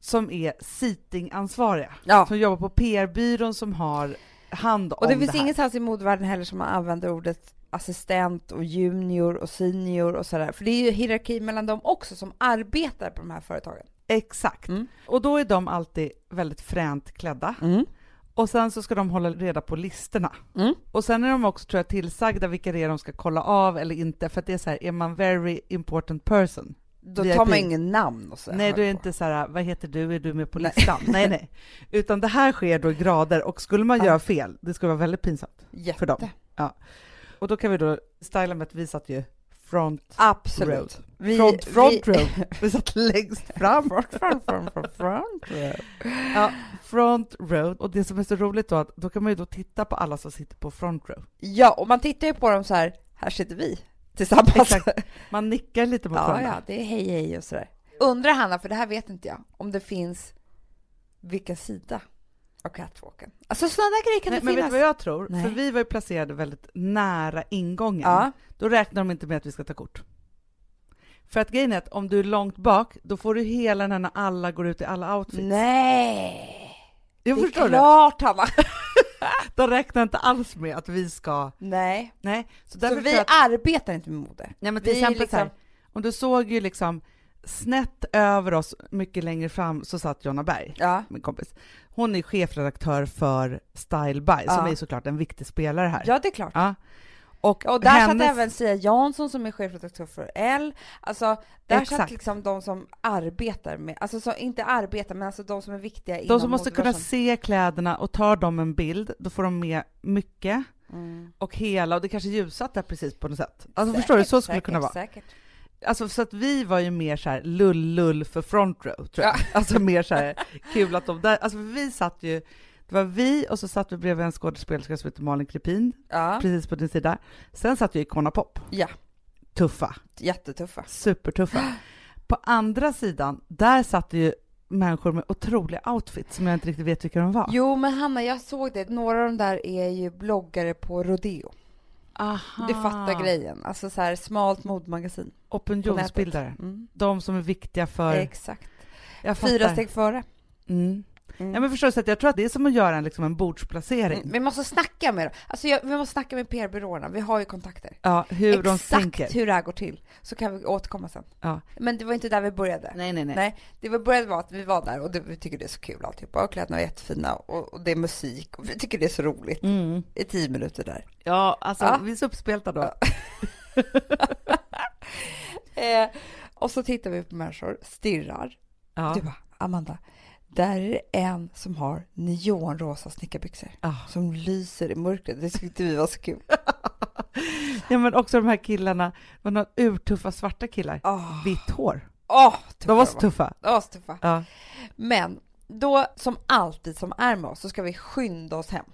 Speaker 1: som är seatingansvariga,
Speaker 2: Ja.
Speaker 1: som jobbar på PR-byrån som har hand om
Speaker 2: Och det
Speaker 1: det
Speaker 2: finns
Speaker 1: här.
Speaker 2: ingenstans i modevärlden heller som man använder ordet assistent och junior och senior och sådär. För det är ju hierarki mellan dem också som arbetar på de här företagen.
Speaker 1: Exakt.
Speaker 2: Mm.
Speaker 1: Och då är de alltid väldigt fränt klädda och sen så ska de hålla reda på listorna.
Speaker 2: Mm.
Speaker 1: Och sen är de också tror jag tillsagda vilka det är de ska kolla av eller inte för att det är så här, är man very important person
Speaker 2: Då
Speaker 1: VIP.
Speaker 2: tar man ingen namn och så.
Speaker 1: Nej, du är inte så här, vad heter du, är du med på listan? Nej, nej. Utan det här sker då i grader och skulle man
Speaker 2: Ja.
Speaker 1: göra fel, det skulle vara väldigt pinsamt.
Speaker 2: Jätte.
Speaker 1: för dem. Och då kan vi då, stylemet vi satt ju front,
Speaker 2: Absolut.
Speaker 1: Road.
Speaker 2: Ah, Vi,
Speaker 1: front, front
Speaker 2: vi,
Speaker 1: row. Vi satt längst fram.
Speaker 2: front, front, front, front, front row.
Speaker 1: Ja, front row. Och det som är så roligt då, att då kan man ju då titta på alla som sitter på front row.
Speaker 2: Ja, och man tittar ju på dem så här, här sitter vi tillsammans.
Speaker 1: Exakt, Man nickar lite mot
Speaker 2: Ja,
Speaker 1: varandra.
Speaker 2: ja, det är hej, hej och sådär. Undrar Hanna, för det här vet inte jag, om det finns vilka sida av catwalken. Alltså sådana där grejer kan
Speaker 1: Nej,
Speaker 2: det
Speaker 1: men vet
Speaker 2: finnas.
Speaker 1: du vad jag tror?
Speaker 2: Nej.
Speaker 1: För vi var ju placerade väldigt nära ingången.
Speaker 2: Ja,
Speaker 1: Då räknar de inte med att vi ska ta kort. För att grejen är att om du är långt bak, då får du hela den här när alla går ut i alla outfits.
Speaker 2: nej.
Speaker 1: jag
Speaker 2: det är
Speaker 1: förstår det.
Speaker 2: klart Hanna.
Speaker 1: De räknar inte alls med att vi ska...
Speaker 2: Nej,
Speaker 1: Nej, så därför
Speaker 2: så
Speaker 1: tror
Speaker 2: vi
Speaker 1: jag att,
Speaker 2: arbetar inte med mode.
Speaker 1: nej, men till
Speaker 2: vi
Speaker 1: exempel
Speaker 2: liksom-
Speaker 1: så här, om du såg ju liksom Snett över oss, mycket längre fram, så satt Jonna Berg,
Speaker 2: Ja.
Speaker 1: min kompis. Hon är chefredaktör för Style By, som
Speaker 2: Ja.
Speaker 1: är såklart en viktig spelare här.
Speaker 2: ja, det är klart.
Speaker 1: Ja. Och,
Speaker 2: Och där
Speaker 1: hennes-
Speaker 2: satt även Sia Jansson som är chefredaktör för L. Alltså, där satt
Speaker 1: Exakt.
Speaker 2: liksom de som arbetar med, alltså som inte arbetar, men alltså de som är viktiga inom
Speaker 1: De som måste kunna
Speaker 2: modebranschen.
Speaker 1: se kläderna och tar de en bild, då får de med mycket
Speaker 2: Mm.
Speaker 1: och hela och det kanske är ljusat där precis på något sätt. Alltså förstår du, så skulle det
Speaker 2: Säkert,
Speaker 1: kunna vara.
Speaker 2: Säkert. säkert.
Speaker 1: Alltså så att vi var ju mer så här lull-lull för front row tror jag. Alltså mer så här kul att de där, alltså för vi satt ju, det var vi och så satt vi bredvid en skådespelerska som heter Malin Krepin,
Speaker 2: Ja,
Speaker 1: precis på din sida. Sen satt vi i Kona Pop.
Speaker 2: Ja.
Speaker 1: Tuffa,
Speaker 2: jättetuffa.
Speaker 1: supertuffa. På andra sidan, där satt ju människor med otroliga outfits som jag inte riktigt vet vilka de var.
Speaker 2: Jo, men Hanna, jag såg det. Några av de där är ju bloggare på Rodeo.
Speaker 1: Aha.
Speaker 2: Du fattar grejen. Alltså så här smalt modemagasin.
Speaker 1: Opinionsbildare.
Speaker 2: Mm.
Speaker 1: De som är viktiga för...
Speaker 2: Exakt.
Speaker 1: jag
Speaker 2: Fyra
Speaker 1: fattar.
Speaker 2: steg före.
Speaker 1: Mm.
Speaker 2: Mm.
Speaker 1: Ja, men förstår du, så att jag tror att det är som att göra en, liksom, en bordsplacering.
Speaker 2: Mm, Vi måste snacka med dem. Alltså jag, vi måste snacka med PR-byråerna. Vi har ju kontakter.
Speaker 1: Ja, hur de
Speaker 2: Exakt
Speaker 1: tänker.
Speaker 2: hur det här går till. Så kan vi återkomma sen.
Speaker 1: Ja.
Speaker 2: Men det var inte där vi började.
Speaker 1: Nej, nej, nej.
Speaker 2: Det vi började var att vi var där och det, vi tycker det är så kul alltihopa. Och kläderna är jättefina och, och det är musik och vi tycker det är så roligt.
Speaker 1: Mm.
Speaker 2: I tio minuter där.
Speaker 1: Ja, alltså
Speaker 2: Ja.
Speaker 1: vi är så uppspelta då.
Speaker 2: Eh, och så tittar vi på människor, stirrar.
Speaker 1: Ja.
Speaker 2: Du bara, Amanda, där är det en som har neonrosa snickarbyxor.
Speaker 1: Ja.
Speaker 2: Som lyser i mörkret. Det tyckte vi var så kul.
Speaker 1: ja, men också de här killarna, det var några urtuffa svarta killar.
Speaker 2: Åh,
Speaker 1: Vitt hår.
Speaker 2: åh, Ah, tuffa
Speaker 1: De Ah. var så tuffa.
Speaker 2: Åh, så tuffa.
Speaker 1: Ja.
Speaker 2: Men då, som alltid som är med oss, så ska vi skynda oss hem.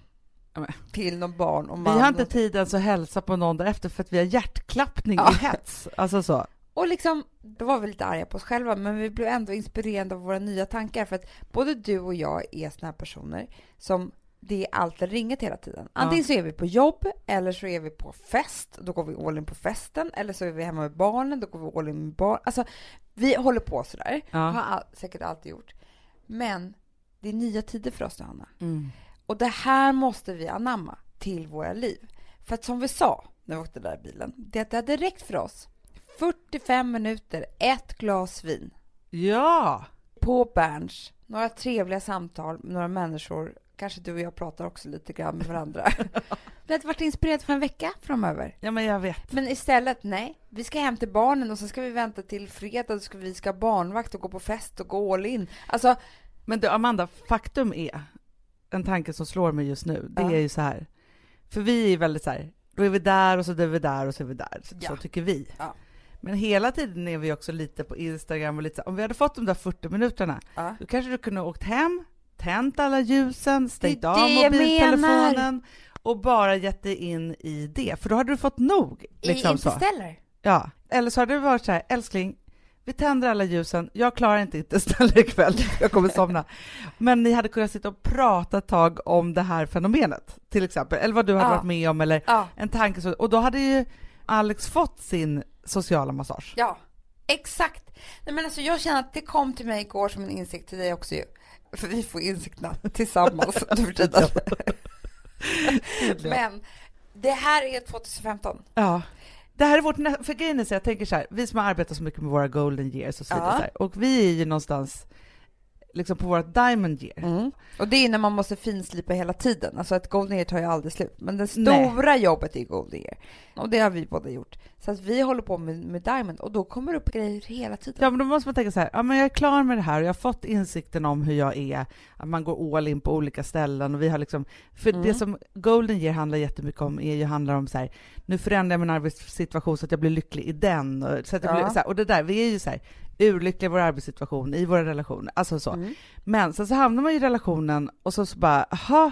Speaker 1: Ja, men.
Speaker 2: Till någon barn och
Speaker 1: Vi
Speaker 2: man.
Speaker 1: har inte
Speaker 2: och,
Speaker 1: tid ens att hälsa på någon därefter för att vi har hjärtklappning
Speaker 2: Ja.
Speaker 1: i hets. Alltså så.
Speaker 2: och liksom, då var vi lite arga på oss själva, men vi blev ändå inspirerade av våra nya tankar. För att både du och jag är såna här personer som det är allt eller inget hela tiden. Antingen så är vi på jobb, eller så är vi på fest, då går vi all in på festen. Eller så är vi hemma med barnen, då går vi all in med barn. Alltså, vi håller på sådär. Har
Speaker 1: Ja.
Speaker 2: all, säkert alltid gjort. Men det är nya tider för oss nu, Hanna. Och det här måste vi anamma till våra liv. För att som vi sa när vi åkte där i bilen, det hade räckt för oss 45 minuter, ett glas vin
Speaker 1: ja.
Speaker 2: på Berns, några trevliga samtal med några människor. Kanske du och jag pratar också lite grann med varandra. Vi hade varit inspirerade för en vecka framöver.
Speaker 1: Ja, men jag vet.
Speaker 2: Men istället, nej. Vi ska hem till barnen och sen ska vi vänta till fredag. Då ska vi ska ha barnvakt och gå på fest och gå all in. Alltså,
Speaker 1: Men du, Amanda, faktum är, en tanke som slår mig just nu, det
Speaker 2: Ja.
Speaker 1: är ju så här, för vi är väldigt så här, då är vi där och så är vi där och så är vi där, så,
Speaker 2: Ja.
Speaker 1: så tycker vi.
Speaker 2: Ja.
Speaker 1: Men hela tiden är vi också lite på Instagram och lite så här, om vi hade fått de där 40 minuterna,
Speaker 2: ja.
Speaker 1: då kanske du kunde ha åkt hem, tänt alla ljusen, stängt
Speaker 2: Det är
Speaker 1: av
Speaker 2: det jag menar.
Speaker 1: mobiltelefonen och bara gett dig in i det, för då hade du fått nog.
Speaker 2: I
Speaker 1: Liksom så.
Speaker 2: interstellar.
Speaker 1: Ja. Eller så hade det varit så här, älskling, vi tänder alla ljusen, jag klarar inte Interstellar ikväll, jag kommer somna. Men ni hade kunnat sitta och prata ett tag om det här fenomenet, till exempel, eller vad du hade
Speaker 2: Ja.
Speaker 1: varit med om, eller
Speaker 2: Ja.
Speaker 1: en tanke. så- Och då hade ju Alex fått sin sociala massage.
Speaker 2: Ja, exakt. Nej, men alltså, jag känner att det kom till mig igår som en insikt till dig också ju. För vi får insikterna tillsammans nu för tiden. Men det här är 2015.
Speaker 1: Ja. Det här är vårt, nä- för grejen är så jag tänker så här, vi som har arbetat så mycket med våra golden years och så vidare,
Speaker 2: Ja.
Speaker 1: så här, och vi är ju någonstans liksom på vårt diamond year.
Speaker 2: Och det är när man måste finslipa hela tiden. Alltså ett golden year tar ju aldrig slut. Men det
Speaker 1: Nej.
Speaker 2: stora jobbet är golden year. Och det har vi båda gjort. Så att vi håller på med, med diamond och då kommer det upp grejer hela tiden.
Speaker 1: Ja, men då måste man tänka så här, ja, men jag är klar med det här och jag har fått insikten om hur jag är, att man går all in på olika ställen och vi har liksom, för
Speaker 2: Mm.
Speaker 1: det som Golden ger handlar jättemycket om är ju handlar om så här, nu förändrar jag min arbetssituation så att jag blir lycklig i den och, så att jag
Speaker 2: Ja.
Speaker 1: blir, så här, och det där, vi är ju så här urlyckliga i vår arbetssituation, i våra relationer, alltså så.
Speaker 2: Mm.
Speaker 1: Men sen så hamnar man i relationen och så, så bara, aha,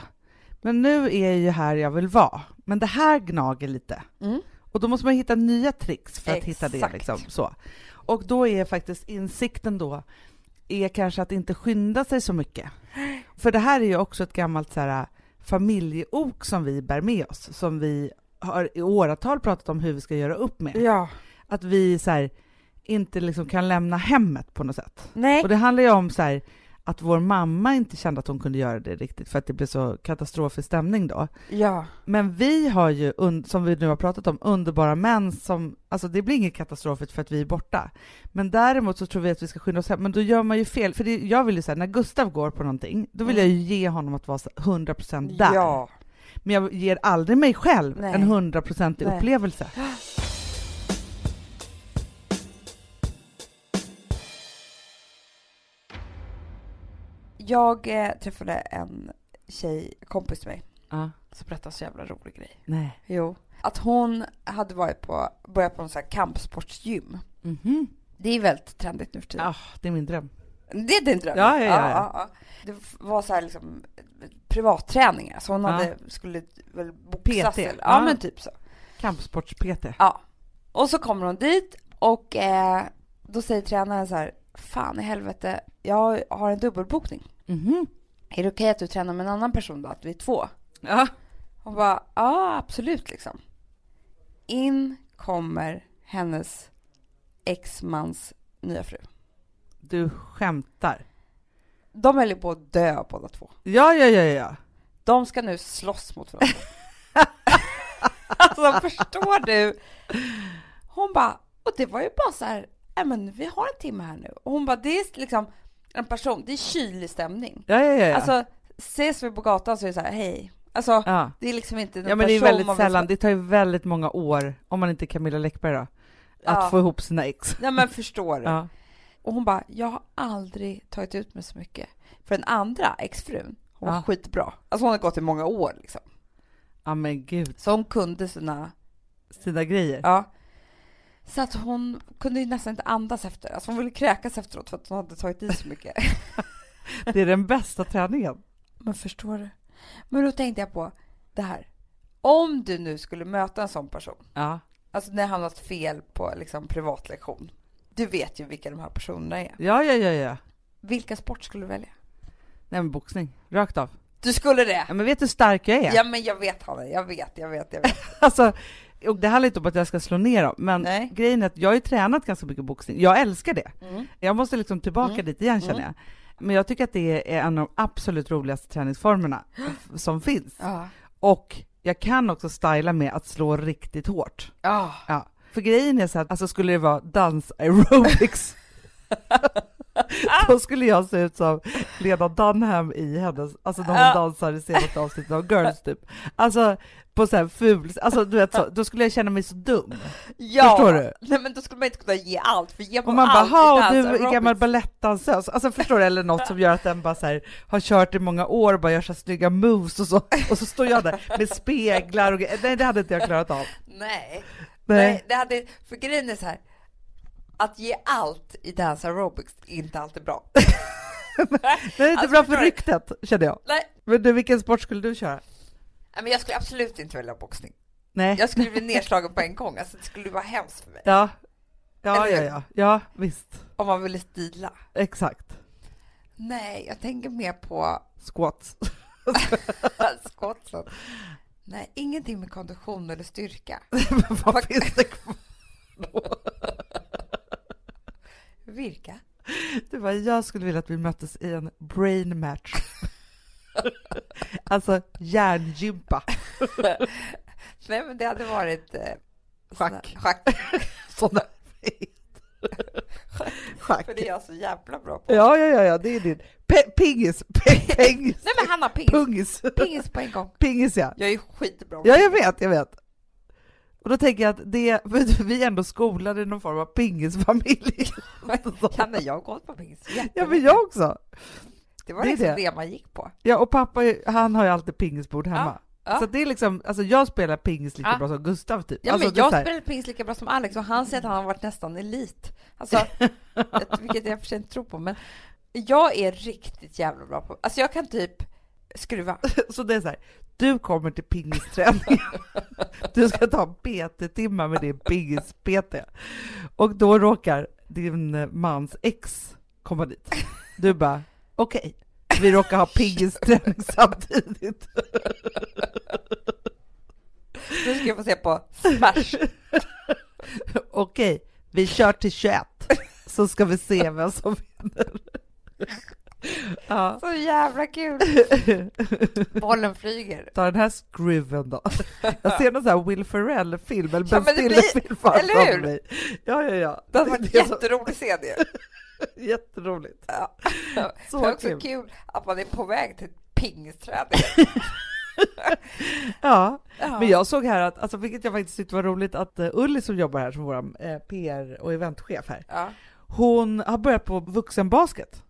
Speaker 1: men nu är jag ju här jag vill vara, men det här gnager lite.
Speaker 2: Mm.
Speaker 1: Och då måste man hitta nya tricks för att hitta det.
Speaker 2: Exakt.
Speaker 1: Liksom, så. Och då är faktiskt insikten då, är kanske att inte skynda sig så mycket. För det här är ju också ett gammalt så här, äh, familjeok som vi bär med oss, som vi har i åratal pratat om hur vi ska göra upp med.
Speaker 2: Ja.
Speaker 1: Att vi så här, inte liksom kan lämna hemmet på något sätt.
Speaker 2: Nej.
Speaker 1: Och det handlar ju om så här,
Speaker 4: att vår mamma inte kände att hon kunde göra det riktigt för att det blev så katastrofisk stämning då.
Speaker 2: Ja.
Speaker 4: Men vi har ju, un- som vi nu har pratat om, underbara män som... Alltså det blir inget katastrofigt för att vi är borta. Men däremot så tror vi att vi ska skynda oss hem, men då gör man ju fel. För det, jag vill ju säga, när Gustav går på någonting, då vill
Speaker 2: Mm.
Speaker 4: jag ju ge honom att vara så- 100% där.
Speaker 2: Ja.
Speaker 4: Men jag ger aldrig mig själv
Speaker 2: Nej.
Speaker 4: en 100%
Speaker 2: Nej.
Speaker 4: upplevelse.
Speaker 2: Jag eh, träffade en tjej, kompis till mig,
Speaker 4: Ja.
Speaker 2: som berättade en så jävla rolig grej.
Speaker 4: Nej.
Speaker 2: Jo. Att hon hade varit på, börjat på en sån här kampsportsgym.
Speaker 4: Mhm.
Speaker 2: Det är väldigt trendigt nu för tiden.
Speaker 4: Ah, det är min dröm.
Speaker 2: Det är din dröm?
Speaker 4: Ja, ja, ja, ja.
Speaker 2: Det var så här liksom privatträningar, så hon
Speaker 4: Ja.
Speaker 2: hade, skulle väl boxas.
Speaker 4: PT,
Speaker 2: eller-
Speaker 4: ja.
Speaker 2: ja, men typ så.
Speaker 4: Kampsports-PT.
Speaker 2: Ja. Och så kommer hon dit och eh, då säger tränaren så här, fan i helvete, jag har en dubbelbokning.
Speaker 4: Mhm.
Speaker 2: Är det okej att du tränar med en annan person då, att vi är två?
Speaker 4: Ja.
Speaker 2: Hon bara, ja absolut liksom. In kommer hennes exmans nya fru.
Speaker 4: Du skämtar.
Speaker 2: De höll ju på att dö båda två.
Speaker 4: Ja, ja, ja, ja.
Speaker 2: De ska nu slåss mot varandra. alltså förstår du? Hon bara, och det var ju bara så här, "Nej, men vi har en timme här nu. Och hon bara, det är liksom en person, det är kylig stämning.
Speaker 4: Ja, ja, ja. ja.
Speaker 2: Alltså ses vi på gatan så är det så här, hej. Alltså
Speaker 4: ja.
Speaker 2: det är liksom inte någon
Speaker 4: Ja men det är
Speaker 2: person
Speaker 4: väldigt
Speaker 2: man vill-
Speaker 4: sällan, det tar ju väldigt många år, om man inte är Camilla Läckberg då, att
Speaker 2: Ja.
Speaker 4: få ihop sina ex.
Speaker 2: Nej men förstår du?
Speaker 4: Ja.
Speaker 2: Och hon bara, jag har aldrig tagit ut mig så mycket. För den andra exfrun, hon var
Speaker 4: Ja.
Speaker 2: skitbra. Alltså hon har gått i många år liksom.
Speaker 4: ja men gud,
Speaker 2: Så hon kunde sina
Speaker 4: sina grejer.
Speaker 2: Ja. Så att hon kunde ju nästan inte andas efter. Alltså hon ville kräkas efteråt för att hon hade tagit i så mycket.
Speaker 4: Det är den bästa träningen.
Speaker 2: Men förstår du? Men då tänkte jag på det här. Om du nu skulle möta en sån person,
Speaker 4: Ja.
Speaker 2: alltså ni har hamnat fel på liksom privatlektion. Du vet ju vilka de här personerna är.
Speaker 4: ja, ja, ja, ja.
Speaker 2: Vilka sport skulle du välja?
Speaker 4: Nej men boxning, rakt av.
Speaker 2: Du skulle det?
Speaker 4: Ja, men vet du hur stark jag är?
Speaker 2: Ja men jag vet Hanna, jag vet, jag vet, jag vet.
Speaker 4: Alltså, och det handlar inte om att jag ska slå ner dem, men
Speaker 2: Nej.
Speaker 4: grejen är att jag har ju tränat ganska mycket boxning. Jag älskar det.
Speaker 2: Mm.
Speaker 4: Jag måste liksom tillbaka
Speaker 2: Mm.
Speaker 4: dit igen känner jag. Men jag tycker att det är en av de absolut roligaste träningsformerna som finns.
Speaker 2: Ja.
Speaker 4: Och jag kan också styla med att slå riktigt hårt.
Speaker 2: Ja.
Speaker 4: Ja. För grejen är så att alltså skulle det vara dans aerobics då skulle jag se ut som Lena Dunham i hennes, alltså när hon
Speaker 2: Ja.
Speaker 4: dansar i senaste avsnittet av Girls typ. Alltså på så här ful, alltså du vet så, då skulle jag känna mig så dum.
Speaker 2: ja.
Speaker 4: Förstår du?
Speaker 2: Nej men då skulle man inte kunna ge allt, för ger man,
Speaker 4: Och man bara,
Speaker 2: allt
Speaker 4: ha
Speaker 2: i
Speaker 4: du
Speaker 2: dans-
Speaker 4: är gammal
Speaker 2: aerobics-
Speaker 4: balettdansös, alltså förstår du, eller något som gör att den bara så här, har kört i många år och bara gör så här snygga moves och så, och så står jag där med speglar och grejer. nej det hade inte jag klarat av.
Speaker 2: Nej.
Speaker 4: Nej.
Speaker 2: Nej, det hade, för grejen är så här. Att ge allt i dance aerobics är inte alltid bra.
Speaker 4: Det är inte
Speaker 2: Alltså,
Speaker 4: bra
Speaker 2: förstår
Speaker 4: för
Speaker 2: du?
Speaker 4: ryktet kände jag.
Speaker 2: Nej,
Speaker 4: Men du, vilken sport skulle du köra?
Speaker 2: nej, men jag skulle absolut inte välja boxning.
Speaker 4: Nej.
Speaker 2: Jag skulle bli nedslagen på en gång. Alltså, det skulle vara hemskt för mig.
Speaker 4: Ja. Ja,
Speaker 2: Eller
Speaker 4: ja,
Speaker 2: hur?
Speaker 4: ja. Ja, visst.
Speaker 2: Om man ville stila.
Speaker 4: Exakt.
Speaker 2: Nej, jag tänker mer på
Speaker 4: Squats.
Speaker 2: skotten. Nej, ingenting med kondition eller styrka.
Speaker 4: Vad finns det kvar?
Speaker 2: Virka.
Speaker 4: Du bara, jag skulle vilja att vi möttes i en brain match. alltså hjärngympa.
Speaker 2: Nej, men det hade varit... Eh,
Speaker 4: Schack.
Speaker 2: såna- Schack.
Speaker 4: Sådana. Schack.
Speaker 2: För det är jag så jävla bra på.
Speaker 4: Ja, ja, ja, ja, det är din. Pe- pingis. Pe- pingis.
Speaker 2: Nej, men Hanna, pingis.
Speaker 4: Pungis.
Speaker 2: Pingis på en gång.
Speaker 4: Pingis, ja.
Speaker 2: Jag är skitbra på
Speaker 4: Ja, jag vet, jag vet. Och då tänker jag att det, vi är ändå skolade i någon form av pingisfamilj.
Speaker 2: Kan jag har gått på pingis?
Speaker 4: Ja, men
Speaker 2: Jättelänge.
Speaker 4: jag också.
Speaker 2: Det var
Speaker 4: det är
Speaker 2: liksom
Speaker 4: det.
Speaker 2: det. man gick på.
Speaker 4: Ja, och pappa han har ju alltid pingisbord hemma.
Speaker 2: ja.
Speaker 4: Så det är liksom, alltså jag spelar pingis lika
Speaker 2: Ja.
Speaker 4: bra som Gustav typ.
Speaker 2: Ja,
Speaker 4: alltså,
Speaker 2: men
Speaker 4: det är
Speaker 2: jag
Speaker 4: så här-
Speaker 2: spelade pingis lika bra som Alex och han säger att han har varit nästan elit. Alltså, ett- vilket jag för sig inte tror på, men jag är riktigt jävla bra på... Alltså jag kan typ skruva.
Speaker 4: Så det är så här, du kommer till pingisträningen, du ska ta en PT-timme med din pingis-PT. Och då råkar din mans ex komma dit. Du bara, okej, vi råkar ha pingisträning samtidigt.
Speaker 2: Nu ska jag få se på Smash.
Speaker 4: Okej, vi kör till 21, så ska vi se vem som vinner. Ja.
Speaker 2: Så jävla kul! Bollen flyger.
Speaker 4: Ta den här skruven då. Jag ser någon sån här Will Ferrell-film, eller
Speaker 2: Ja,
Speaker 4: Ben
Speaker 2: men det blir-
Speaker 4: Stiller-film
Speaker 2: eller
Speaker 4: framför
Speaker 2: hur?
Speaker 4: mig. Ja, ja, ja.
Speaker 2: Det hade varit
Speaker 4: Det är så-
Speaker 2: jätteroligt att se det.
Speaker 4: Jätteroligt.
Speaker 2: Ja. det är
Speaker 4: Så
Speaker 2: också kul.
Speaker 4: kul.
Speaker 2: att man är på väg till ett pingsträd.
Speaker 4: Ja.
Speaker 2: Ja.
Speaker 4: Men jag såg här, att, alltså, vilket jag faktiskt tyckte var roligt, att eh, Ulli som jobbar här som vår eh, PR och eventchef här,
Speaker 2: Ja.
Speaker 4: hon har börjat på vuxenbasket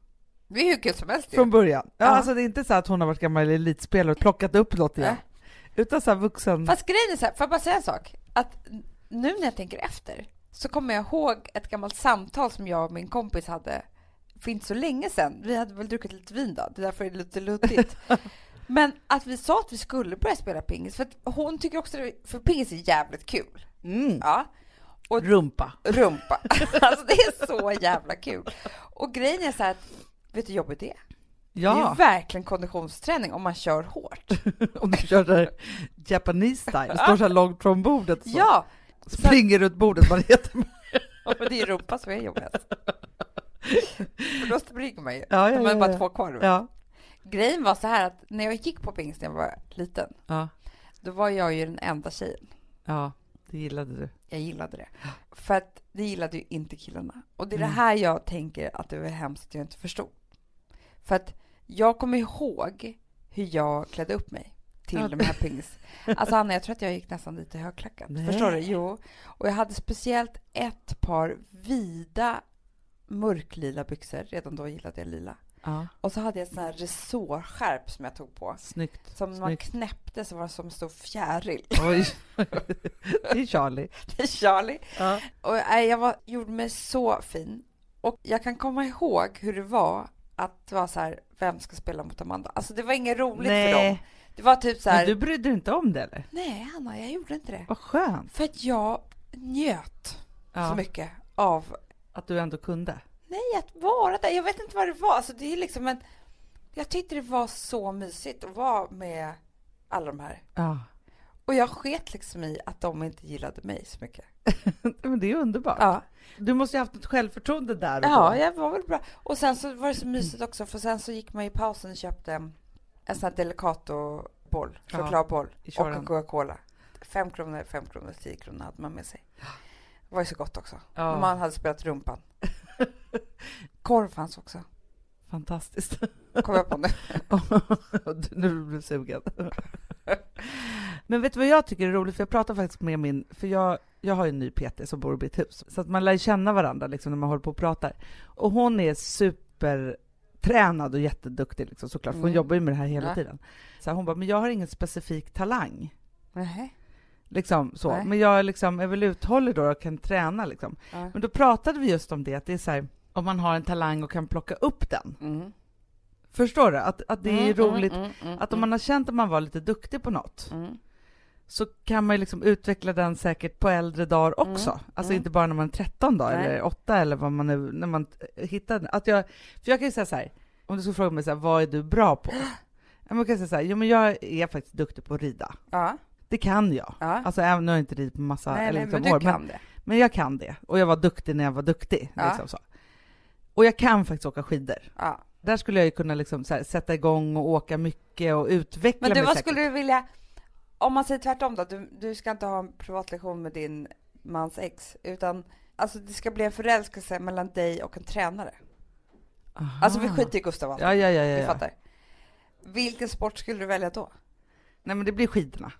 Speaker 2: Det är hur kul som helst ju.
Speaker 4: från början.
Speaker 2: Ja.
Speaker 4: Ja, Alltså det är inte så att hon har varit gammal elitspelare och plockat upp något igen,
Speaker 2: Nej.
Speaker 4: utan så här vuxen...
Speaker 2: Äh. Fast grejen är så här, får jag bara säga en sak? Att n- nu när jag tänker efter så kommer jag ihåg ett gammalt samtal som jag och min kompis hade för inte så länge sedan. Vi hade väl druckit lite vin då, det är därför är det lite luddigt. Men att vi sa att vi skulle börja spela pingis, för att hon tycker också det, för pingis är jävligt kul.
Speaker 4: Mm.
Speaker 2: Ja. Och
Speaker 4: Rumpa.
Speaker 2: rumpa. Alltså det är så jävla kul. Och grejen är så här att, vet du hur jobbigt det är? Det är ju
Speaker 4: Ja,
Speaker 2: verkligen konditionsträning om man kör hårt.
Speaker 4: om du kör där Japanese style, står så här långt från bordet så.
Speaker 2: Ja,
Speaker 4: springer runt bordet. Vad det heter.
Speaker 2: men det är ju rumpa som är jobbigast. För då springer man ju.
Speaker 4: Ja,
Speaker 2: De
Speaker 4: ja,
Speaker 2: har
Speaker 4: ja,
Speaker 2: bara
Speaker 4: ja.
Speaker 2: två kvar.
Speaker 4: Ja.
Speaker 2: Grejen var så här att när jag gick på pingst när jag var liten,
Speaker 4: Ja.
Speaker 2: då var jag ju den enda tjejen.
Speaker 4: ja, det gillade du.
Speaker 2: Jag gillade det. För att det gillade ju inte killarna. Och det är
Speaker 4: Mm.
Speaker 2: det här jag tänker att det var hemskt att jag inte förstod. För att jag kommer ihåg hur jag klädde upp mig till
Speaker 4: Ja.
Speaker 2: de här pingis. Alltså Anna, jag tror att jag gick nästan lite högklackat.
Speaker 4: Nej.
Speaker 2: Förstår du? Jo. Och jag hade speciellt ett par vida mörklila byxor. Redan då gillade jag lila.
Speaker 4: Ja.
Speaker 2: Och så hade jag en sån här resårskärp som jag tog på.
Speaker 4: Snyggt.
Speaker 2: Som när man
Speaker 4: Snyggt.
Speaker 2: knäppte så var det som en stor fjäril.
Speaker 4: Oj. det är Charlie.
Speaker 2: Charlie.
Speaker 4: Ja.
Speaker 2: Och nej, jag var, gjorde mig så fin. Och jag kan komma ihåg hur det var att det var så här, vem ska spela mot Amanda? Alltså det var inget roligt för dem.
Speaker 4: Nej,
Speaker 2: Det var typ så här,
Speaker 4: men du brydde dig inte om det eller?
Speaker 2: nej Hanna, jag gjorde inte det.
Speaker 4: Vad skönt.
Speaker 2: För att jag njöt så
Speaker 4: Ja.
Speaker 2: mycket av,
Speaker 4: Att du ändå kunde.
Speaker 2: nej att vara där. Jag vet inte vad det var. Alltså det är liksom en, jag tyckte det var så mysigt att vara med alla de här.
Speaker 4: Ja.
Speaker 2: Och jag sket liksom i att de inte gillade mig så mycket.
Speaker 4: Men det är underbart.
Speaker 2: Ja.
Speaker 4: Du måste ju haft ett självförtroende där och då.
Speaker 2: Ja, jag var väl bra. Och sen så var det så mysigt också för sen så gick man i pausen och köpte en en sån här Delicato-boll,
Speaker 4: Ja,
Speaker 2: chokladboll
Speaker 4: i
Speaker 2: och
Speaker 4: kören.
Speaker 2: en Coca-Cola. Fem kronor, fem kronor, tio kronor hade man med sig. Det var ju så gott också.
Speaker 4: Ja.
Speaker 2: När man hade spelat rumpan. Korv fanns också,
Speaker 4: Fantastiskt.
Speaker 2: kom jag på nu.
Speaker 4: Du- nu blir jag sugen. Men vet du vad jag tycker är roligt? För jag pratar faktiskt med min, för jag, jag har ju en ny PT som bor i mitt hus, så att man lär ju känna varandra liksom när man håller på och pratar. Och hon är supertränad och jätteduktig liksom, såklart, för hon
Speaker 2: Mm.
Speaker 4: jobbar ju med det här hela
Speaker 2: Ja.
Speaker 4: tiden. Så här, hon bara, men jag har ingen specifik talang.
Speaker 2: Nähä.
Speaker 4: Liksom så.
Speaker 2: Nej.
Speaker 4: Men jag liksom är väl uthållig då och kan träna liksom.
Speaker 2: Ja.
Speaker 4: Men då pratade vi just om det, att det är så här, om man har en talang och kan plocka upp den.
Speaker 2: Mm.
Speaker 4: Förstår du? Att, att det är
Speaker 2: Mm,
Speaker 4: roligt
Speaker 2: mm, mm,
Speaker 4: att om man har känt att man var lite duktig på något
Speaker 2: mm.
Speaker 4: så kan man ju liksom utveckla den säkert på äldre dagar också. Alltså
Speaker 2: mm.
Speaker 4: inte bara när man är 13 dagar
Speaker 2: Nej.
Speaker 4: eller 8 eller vad man nu, när man t- hittar den. att jag, För jag kan ju säga så här, om du skulle fråga mig så här, vad är du bra på? Ja, Man kan säga så här, jo men jag är faktiskt duktig på att rida.
Speaker 2: Ja,
Speaker 4: Det kan jag.
Speaker 2: ja.
Speaker 4: Alltså även, nu har jag inte ridit på massa
Speaker 2: nej,
Speaker 4: eller
Speaker 2: nej, men du
Speaker 4: liksom år, men,
Speaker 2: kan det.
Speaker 4: men jag kan det. Och jag var duktig när jag var duktig.
Speaker 2: Ja.
Speaker 4: Liksom så. Och jag kan faktiskt åka skidor.
Speaker 2: Ja.
Speaker 4: Där skulle jag ju kunna liksom så här, sätta igång och åka mycket och utveckla
Speaker 2: Men du,
Speaker 4: mig
Speaker 2: vad
Speaker 4: säkert.
Speaker 2: skulle du vilja... Om man säger tvärtom då, du, du ska inte ha en privatlektion med din mans ex, utan alltså det ska bli en förälskelse mellan dig och en tränare. Alltså vi
Speaker 4: Aha.
Speaker 2: skiter i Gustav och allt,
Speaker 4: Ah. Ja, ja, ja, ja,
Speaker 2: vi
Speaker 4: ja.
Speaker 2: fattar. Vilken sport skulle du välja då?
Speaker 4: Nej men det blir skidorna,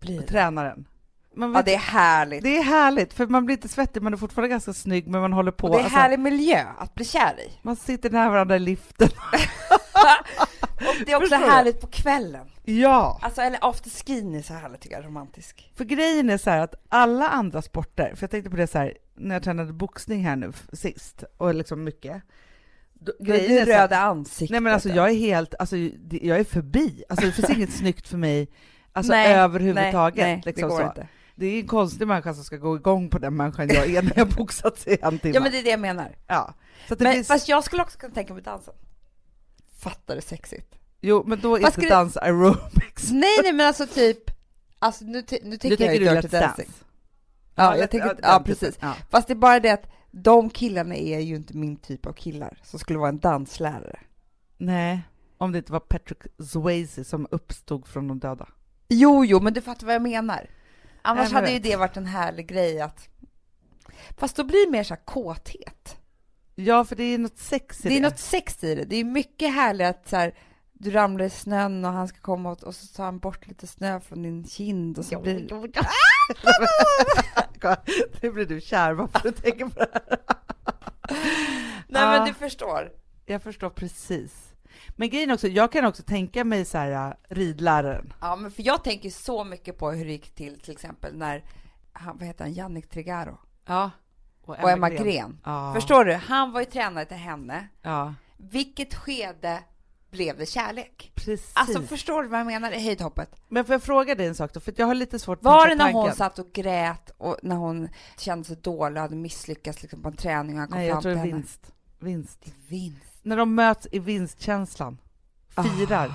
Speaker 2: Blir
Speaker 4: och tränaren. Man
Speaker 2: Ja,
Speaker 4: vet,
Speaker 2: det är härligt.
Speaker 4: det är härligt, för man blir inte svettig, man är fortfarande ganska snygg, men man håller på.
Speaker 2: och det är
Speaker 4: alltså,
Speaker 2: härlig miljö att bli kär i.
Speaker 4: man sitter nära varandra i liften.
Speaker 2: Och det är också
Speaker 4: Förstår du?
Speaker 2: härligt på kvällen.
Speaker 4: Ja!
Speaker 2: Alltså, eller afterskin är så härligt tycker jag, romantisk.
Speaker 4: För grejen är så här att alla andra sporter, för jag tänkte på det så här när jag tränade boxning här nu f- sist, och liksom mycket. Då,
Speaker 2: Grejen
Speaker 4: så här-
Speaker 2: röda ansiktet.
Speaker 4: Nej men alltså jag är helt, alltså det- jag är förbi. Alltså det finns inget snyggt för mig, alltså
Speaker 2: Nej,
Speaker 4: överhuvudtaget.
Speaker 2: Nej, nej
Speaker 4: liksom
Speaker 2: det går
Speaker 4: så.
Speaker 2: inte.
Speaker 4: det är en konstig människa som ska gå igång på den människan jag är när jag boxats i en timme.
Speaker 2: Ja men det är det jag menar.
Speaker 4: Ja. Så att det
Speaker 2: Men,
Speaker 4: finns...
Speaker 2: Fast jag skulle också kunna tänka mig dansen. Fattar du sexigt?
Speaker 4: Jo, men då är
Speaker 2: Fast
Speaker 4: inte
Speaker 2: skulle-
Speaker 4: dans aerobics.
Speaker 2: Nej, nej men alltså typ, alltså nu, ti- nu tänker jag ju Dirty Dancing. Ja, jag tänker, ja
Speaker 4: den
Speaker 2: precis.
Speaker 4: typen. Ja.
Speaker 2: Fast det är bara det att de killarna är ju inte min typ av killar som skulle vara en danslärare.
Speaker 4: Nej, om det inte var Patrick Swayze som uppstod från de döda.
Speaker 2: Jo, jo, men du fattar vad jag menar. Annars
Speaker 4: Nej, men
Speaker 2: hade ju
Speaker 4: vet.
Speaker 2: det varit en härlig grej att... Fast då blir det mer så här kåthet.
Speaker 4: Ja, för det är något sex i
Speaker 2: Det
Speaker 4: det.
Speaker 2: är något sex i det. Det är mycket härligt att så här, du ramlar i snön och han ska komma och, och så tar han bort lite snö från din kind och så blir det...
Speaker 4: Nu blir du kär bara för att du tänker på det här.
Speaker 2: Nej, men
Speaker 4: Ah.
Speaker 2: du förstår.
Speaker 4: Jag förstår precis. Men grejen är också, jag kan också tänka mig så här äh, ridläraren.
Speaker 2: Ja, men för jag tänker så mycket på hur det gick till till exempel när, han, vad heter han, Jannik Trigaro
Speaker 4: Ja.
Speaker 2: och Emma Gren.
Speaker 4: Ja.
Speaker 2: Förstår du? Han var ju tränare till henne.
Speaker 4: Ja,
Speaker 2: Vilket skede blev det kärlek?
Speaker 4: precis.
Speaker 2: Alltså förstår du vad jag menar? I höjdhoppet.
Speaker 4: Men får jag fråga dig en sak då? För jag har lite svårt att
Speaker 2: Var det
Speaker 4: tänka
Speaker 2: när hon
Speaker 4: tanken.
Speaker 2: satt och grät och när hon kände sig dålig och hade misslyckats liksom på en träning och han kom
Speaker 4: Nej,
Speaker 2: fram
Speaker 4: jag tror
Speaker 2: till
Speaker 4: det är
Speaker 2: henne?
Speaker 4: vinst. Vinst.
Speaker 2: Det är vinst.
Speaker 4: När de möts i vinstkänslan. Firar.
Speaker 2: Ah.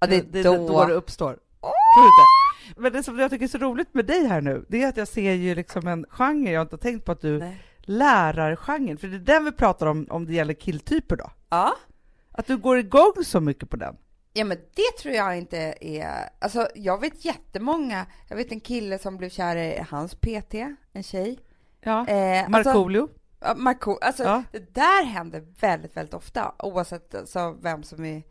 Speaker 2: Ja, det är då.
Speaker 4: det uppstår. Tror du inte? Men det som jag tycker är så roligt med dig här nu, det är att jag ser ju liksom en genre jag inte har tänkt på att du
Speaker 2: Nej.
Speaker 4: lärargenren, för det är den vi pratar om om det gäller killtyper då.
Speaker 2: Ja.
Speaker 4: Att du går igång så mycket på den.
Speaker 2: Ja men det tror jag inte är... Alltså jag vet jättemånga. Jag vet en kille som blev kär i hans PT, en tjej.
Speaker 4: Ja.
Speaker 2: Eh, Alltså,
Speaker 4: Markoolio.
Speaker 2: ja, Marco, alltså
Speaker 4: Ja.
Speaker 2: det där händer väldigt, väldigt ofta oavsett alltså, vem som är...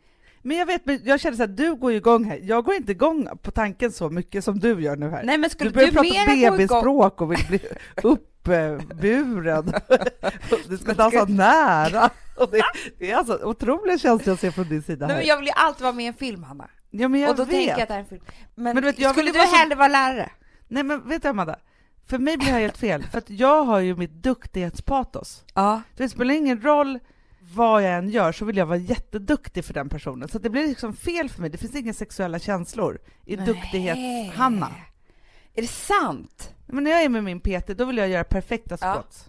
Speaker 4: Men jag vet, men jag känner så här, du går ju igång här. Jag går inte igång på tanken så mycket som du gör nu här.
Speaker 2: Nej men
Speaker 4: du
Speaker 2: skulle du,
Speaker 4: börjar prata
Speaker 2: mera gå igång...
Speaker 4: BB-språk och vill bli uppburen. Du ska dansa nära. Och det, det är alltså otroliga känslor jag ser från din sida
Speaker 2: Nej,
Speaker 4: här.
Speaker 2: men jag vill ju alltid vara med i en film Hanna.
Speaker 4: ja, men jag
Speaker 2: och då
Speaker 4: vet.
Speaker 2: tänker jag att det här är en film. Men,
Speaker 4: Men du vet, jag
Speaker 2: skulle
Speaker 4: vill
Speaker 2: du
Speaker 4: ju vara så-
Speaker 2: hellre vara lärare?
Speaker 4: Nej men vet du Amanda, för mig blir det här helt fel. För att jag har ju mitt duktighetspatos.
Speaker 2: Ja.
Speaker 4: Det spelar ingen roll vad jag än gör så vill jag vara jätteduktig för den personen. Så att det blir liksom fel för mig. Det finns inga sexuella känslor i duktighets-Hanna.
Speaker 2: Är det sant?
Speaker 4: Men när jag är med min PT, då vill jag göra perfekta
Speaker 2: Ja.
Speaker 4: squats.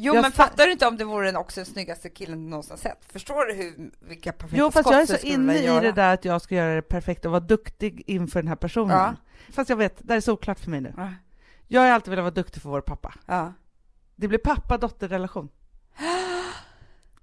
Speaker 2: Jo
Speaker 4: Jag
Speaker 2: men
Speaker 4: sa-
Speaker 2: fattar du inte om det vore den, också den snyggaste killen du någonsin sett? Förstår du hur, vilka perfekta
Speaker 4: Jo, fast jag är
Speaker 2: skott du
Speaker 4: så
Speaker 2: skulle
Speaker 4: inne
Speaker 2: vilja
Speaker 4: i
Speaker 2: göra?
Speaker 4: det där att jag ska göra det perfekt och vara duktig inför den här personen.
Speaker 2: Ja.
Speaker 4: Fast jag vet, det här är så oklart för mig nu.
Speaker 2: Ja.
Speaker 4: Jag har alltid velat vara duktig för vår pappa.
Speaker 2: Ja.
Speaker 4: Det blir pappa-dotter-relation.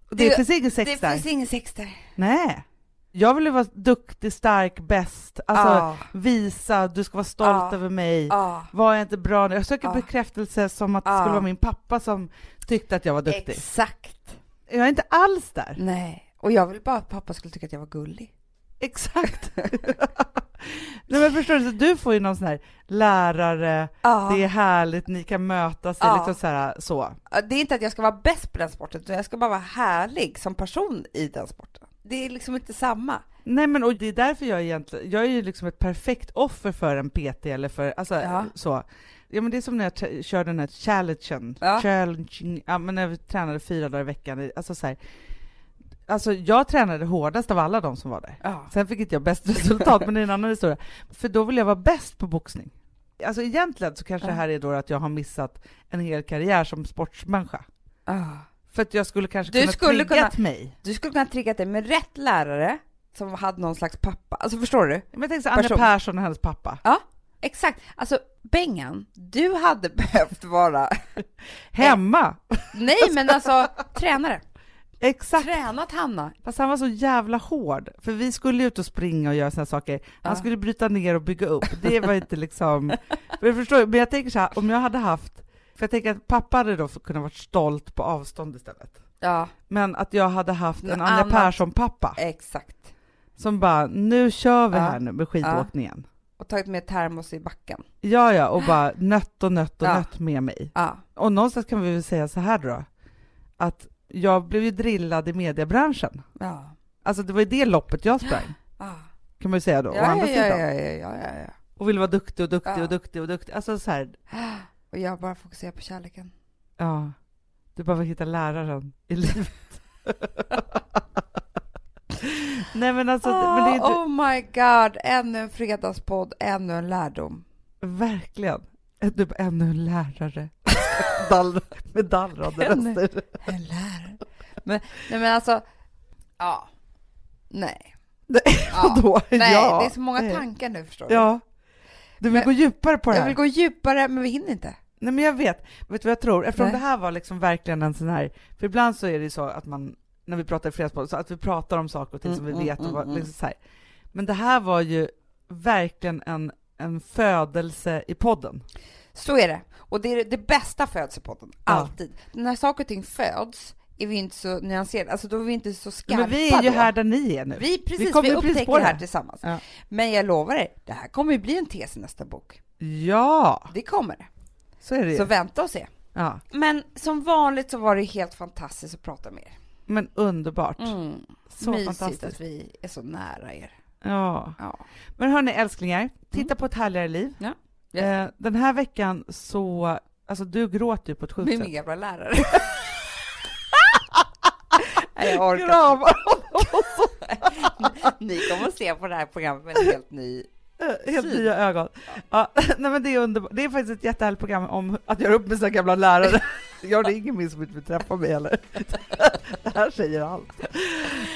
Speaker 4: Och Det,
Speaker 2: Det-
Speaker 4: finns ingen sex
Speaker 2: Det
Speaker 4: där.
Speaker 2: finns ingen sex där.
Speaker 4: Nej. Jag vill ju vara duktig, stark, bäst. Alltså
Speaker 2: Ja.
Speaker 4: visa, du ska vara stolt
Speaker 2: Ja.
Speaker 4: över mig.
Speaker 2: Ja.
Speaker 4: Var jag inte bra nu? Jag söker
Speaker 2: Ja.
Speaker 4: bekräftelse som att det
Speaker 2: Ja.
Speaker 4: skulle vara min pappa som tyckte att jag var duktig.
Speaker 2: Exakt.
Speaker 4: jag är inte alls där.
Speaker 2: Nej. Och jag vill bara att pappa skulle tycka att jag var gullig.
Speaker 4: Exakt. Nej men förstår du, så du får ju någon sån här lärare,
Speaker 2: Ja.
Speaker 4: det är härligt, ni kan mötas, det är
Speaker 2: Ja.
Speaker 4: liksom så här så.
Speaker 2: Ja, Det är inte att jag ska vara bäst på den sporten, utan jag ska bara vara härlig som person i den sporten. Det är liksom inte samma.
Speaker 4: Nej men och det är därför jag egentligen, jag är ju liksom ett perfekt offer för en PT eller för, alltså
Speaker 2: Ja.
Speaker 4: så. Ja men det är som när jag t- kör den här challengen,
Speaker 2: Ja.
Speaker 4: challenging, ja men när vi tränade fyra dagar i veckan, alltså så här. Alltså jag tränade hårdast av alla de som var där.
Speaker 2: Ja.
Speaker 4: Sen fick inte jag bäst resultat, men det är en annan historia. För då vill jag vara bäst på boxning. Alltså egentligen så kanske det här är då att jag har missat en hel karriär som sportsmänniska. För att jag skulle kanske
Speaker 2: Du
Speaker 4: kunna
Speaker 2: skulle
Speaker 4: triggat mig.
Speaker 2: Du skulle kunna trigga dig med rätt lärare som hade någon slags pappa. Alltså förstår du?
Speaker 4: Men tänk så Anja
Speaker 2: Person.
Speaker 4: Persson och hennes pappa.
Speaker 2: Exakt. Alltså Bengan, du hade behövt vara...
Speaker 4: Hemma!
Speaker 2: Nej men alltså tränare.
Speaker 4: Exakt!
Speaker 2: Tränat Hanna.
Speaker 4: Fast han var så jävla hård. För vi skulle ut och springa och göra såna saker. Han
Speaker 2: Ja.
Speaker 4: skulle bryta ner och bygga upp. Det var inte liksom... Men, jag förstår, men jag tänker så här, om jag hade haft... För jag tänker att pappa hade då kunnat vara stolt på avstånd istället.
Speaker 2: Ja,
Speaker 4: Men att jag hade haft en
Speaker 2: En
Speaker 4: Anja
Speaker 2: annan-
Speaker 4: Persson-pappa
Speaker 2: exakt.
Speaker 4: som bara, nu kör vi
Speaker 2: Ja.
Speaker 4: här nu med skidåkningen.
Speaker 2: Och tagit med termos i backen.
Speaker 4: Ja, ja, och bara nött och nött och
Speaker 2: Ja.
Speaker 4: nött med mig.
Speaker 2: Ja.
Speaker 4: Och någonstans kan vi väl säga så här då, att jag blev ju drillad i mediebranschen.
Speaker 2: Ja.
Speaker 4: Alltså det var ju det loppet jag sprang,
Speaker 2: Ja.
Speaker 4: kan man ju säga då, å
Speaker 2: Ja, ja,
Speaker 4: andra
Speaker 2: ja,
Speaker 4: sidan.
Speaker 2: ja, ja, ja, ja.
Speaker 4: Och ville vara duktig och duktig
Speaker 2: Ja.
Speaker 4: och duktig och duktig. Alltså så här,
Speaker 2: Och jag bara fokuserar på kärleken.
Speaker 4: ja, du behöver hitta läraren i livet. Nej men alltså, men det är inte,
Speaker 2: Oh my god, ännu en fredagspodd, ännu en lärdom.
Speaker 4: Verkligen. Ett- Du bara, ännu en lärare. Dall, med dallrande
Speaker 2: Ännu.
Speaker 4: röster.
Speaker 2: En lärare. Men, nej men alltså, ja. Nej.
Speaker 4: Nej,
Speaker 2: Ja.
Speaker 4: Då,
Speaker 2: Nej,
Speaker 4: ja.
Speaker 2: det är så många
Speaker 4: Nej.
Speaker 2: tankar nu förstår du.
Speaker 4: Ja. Du vill
Speaker 2: Men-
Speaker 4: gå djupare på det
Speaker 2: Jag
Speaker 4: här?
Speaker 2: vill gå djupare, men vi hinner inte.
Speaker 4: Nej men jag vet. Vet du vad jag tror? Eftersom
Speaker 2: Nej.
Speaker 4: det här var liksom verkligen en sån här... För ibland så är det ju så att man när vi pratade i Fredagspodden, så att vi pratar om saker och ting
Speaker 5: Mm,
Speaker 4: som vi
Speaker 5: mm,
Speaker 4: vet. och
Speaker 5: mm,
Speaker 4: vad,
Speaker 5: mm.
Speaker 4: liksom så här. Men det här var ju verkligen en, en födelse i podden.
Speaker 2: Så är det. Och det är det bästa födsepodden,
Speaker 4: Ja.
Speaker 2: alltid. När saker och ting föds är vi inte så nyanserade, alltså då är vi inte så skarpa.
Speaker 4: Men vi är ju
Speaker 2: då.
Speaker 4: här där ni är nu.
Speaker 2: Vi, precis,
Speaker 4: Vi
Speaker 2: vi,
Speaker 4: kommer precis
Speaker 2: upptäcker
Speaker 4: på
Speaker 2: det
Speaker 4: det.
Speaker 2: här tillsammans.
Speaker 4: Ja.
Speaker 2: Men jag lovar er, det här kommer ju bli en tes i nästa bok.
Speaker 4: Ja,
Speaker 2: Det kommer det.
Speaker 4: så är det ju.
Speaker 2: Så vänta och se.
Speaker 4: Ja.
Speaker 2: Men som vanligt så var det helt fantastiskt att prata med er.
Speaker 4: Men underbart.
Speaker 2: Mm.
Speaker 4: Så
Speaker 2: Mysigt
Speaker 4: fantastiskt.
Speaker 2: att vi är så nära er.
Speaker 4: Ja.
Speaker 2: Ja.
Speaker 4: Men hörni älsklingar, titta på ett härligare liv.
Speaker 2: Mm. Ja.
Speaker 4: Eh, den här veckan så, alltså du gråter ju på ett sjukt
Speaker 2: Med
Speaker 4: sätt.
Speaker 2: min gamla lärare. Nej, jag orkar inte.
Speaker 4: Kramar
Speaker 2: Ni kommer att se på det här programmet med en helt ny...
Speaker 4: Eh, Helt
Speaker 2: Syn.
Speaker 4: nya ögon. Ja, nej men det är underbart. Det är faktiskt ett jättehärligt program om att göra upp med sina gamla lärare. Jag det är ingen min som inte vill träffa mig heller. Det här säger allt.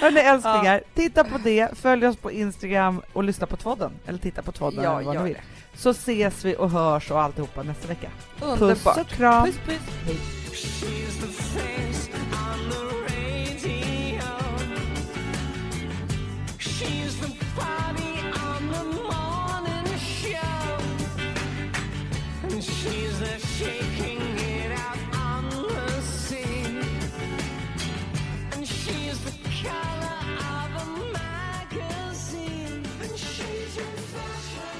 Speaker 4: Hörni älsklingar, titta på det, följ oss på Instagram och lyssna på Tvodden. Eller titta på Tvodden
Speaker 2: Ja,
Speaker 4: eller vad
Speaker 2: gör
Speaker 4: ni vill. Så ses vi och hörs och alltihopa nästa vecka. Puss
Speaker 2: Underbart.
Speaker 4: och kram.
Speaker 2: Puss, puss.
Speaker 6: She's the face on the radio. She's the body on the morning show. And she's the shaking it out on the scene. And she's the color of a magazine. And she's in fashion.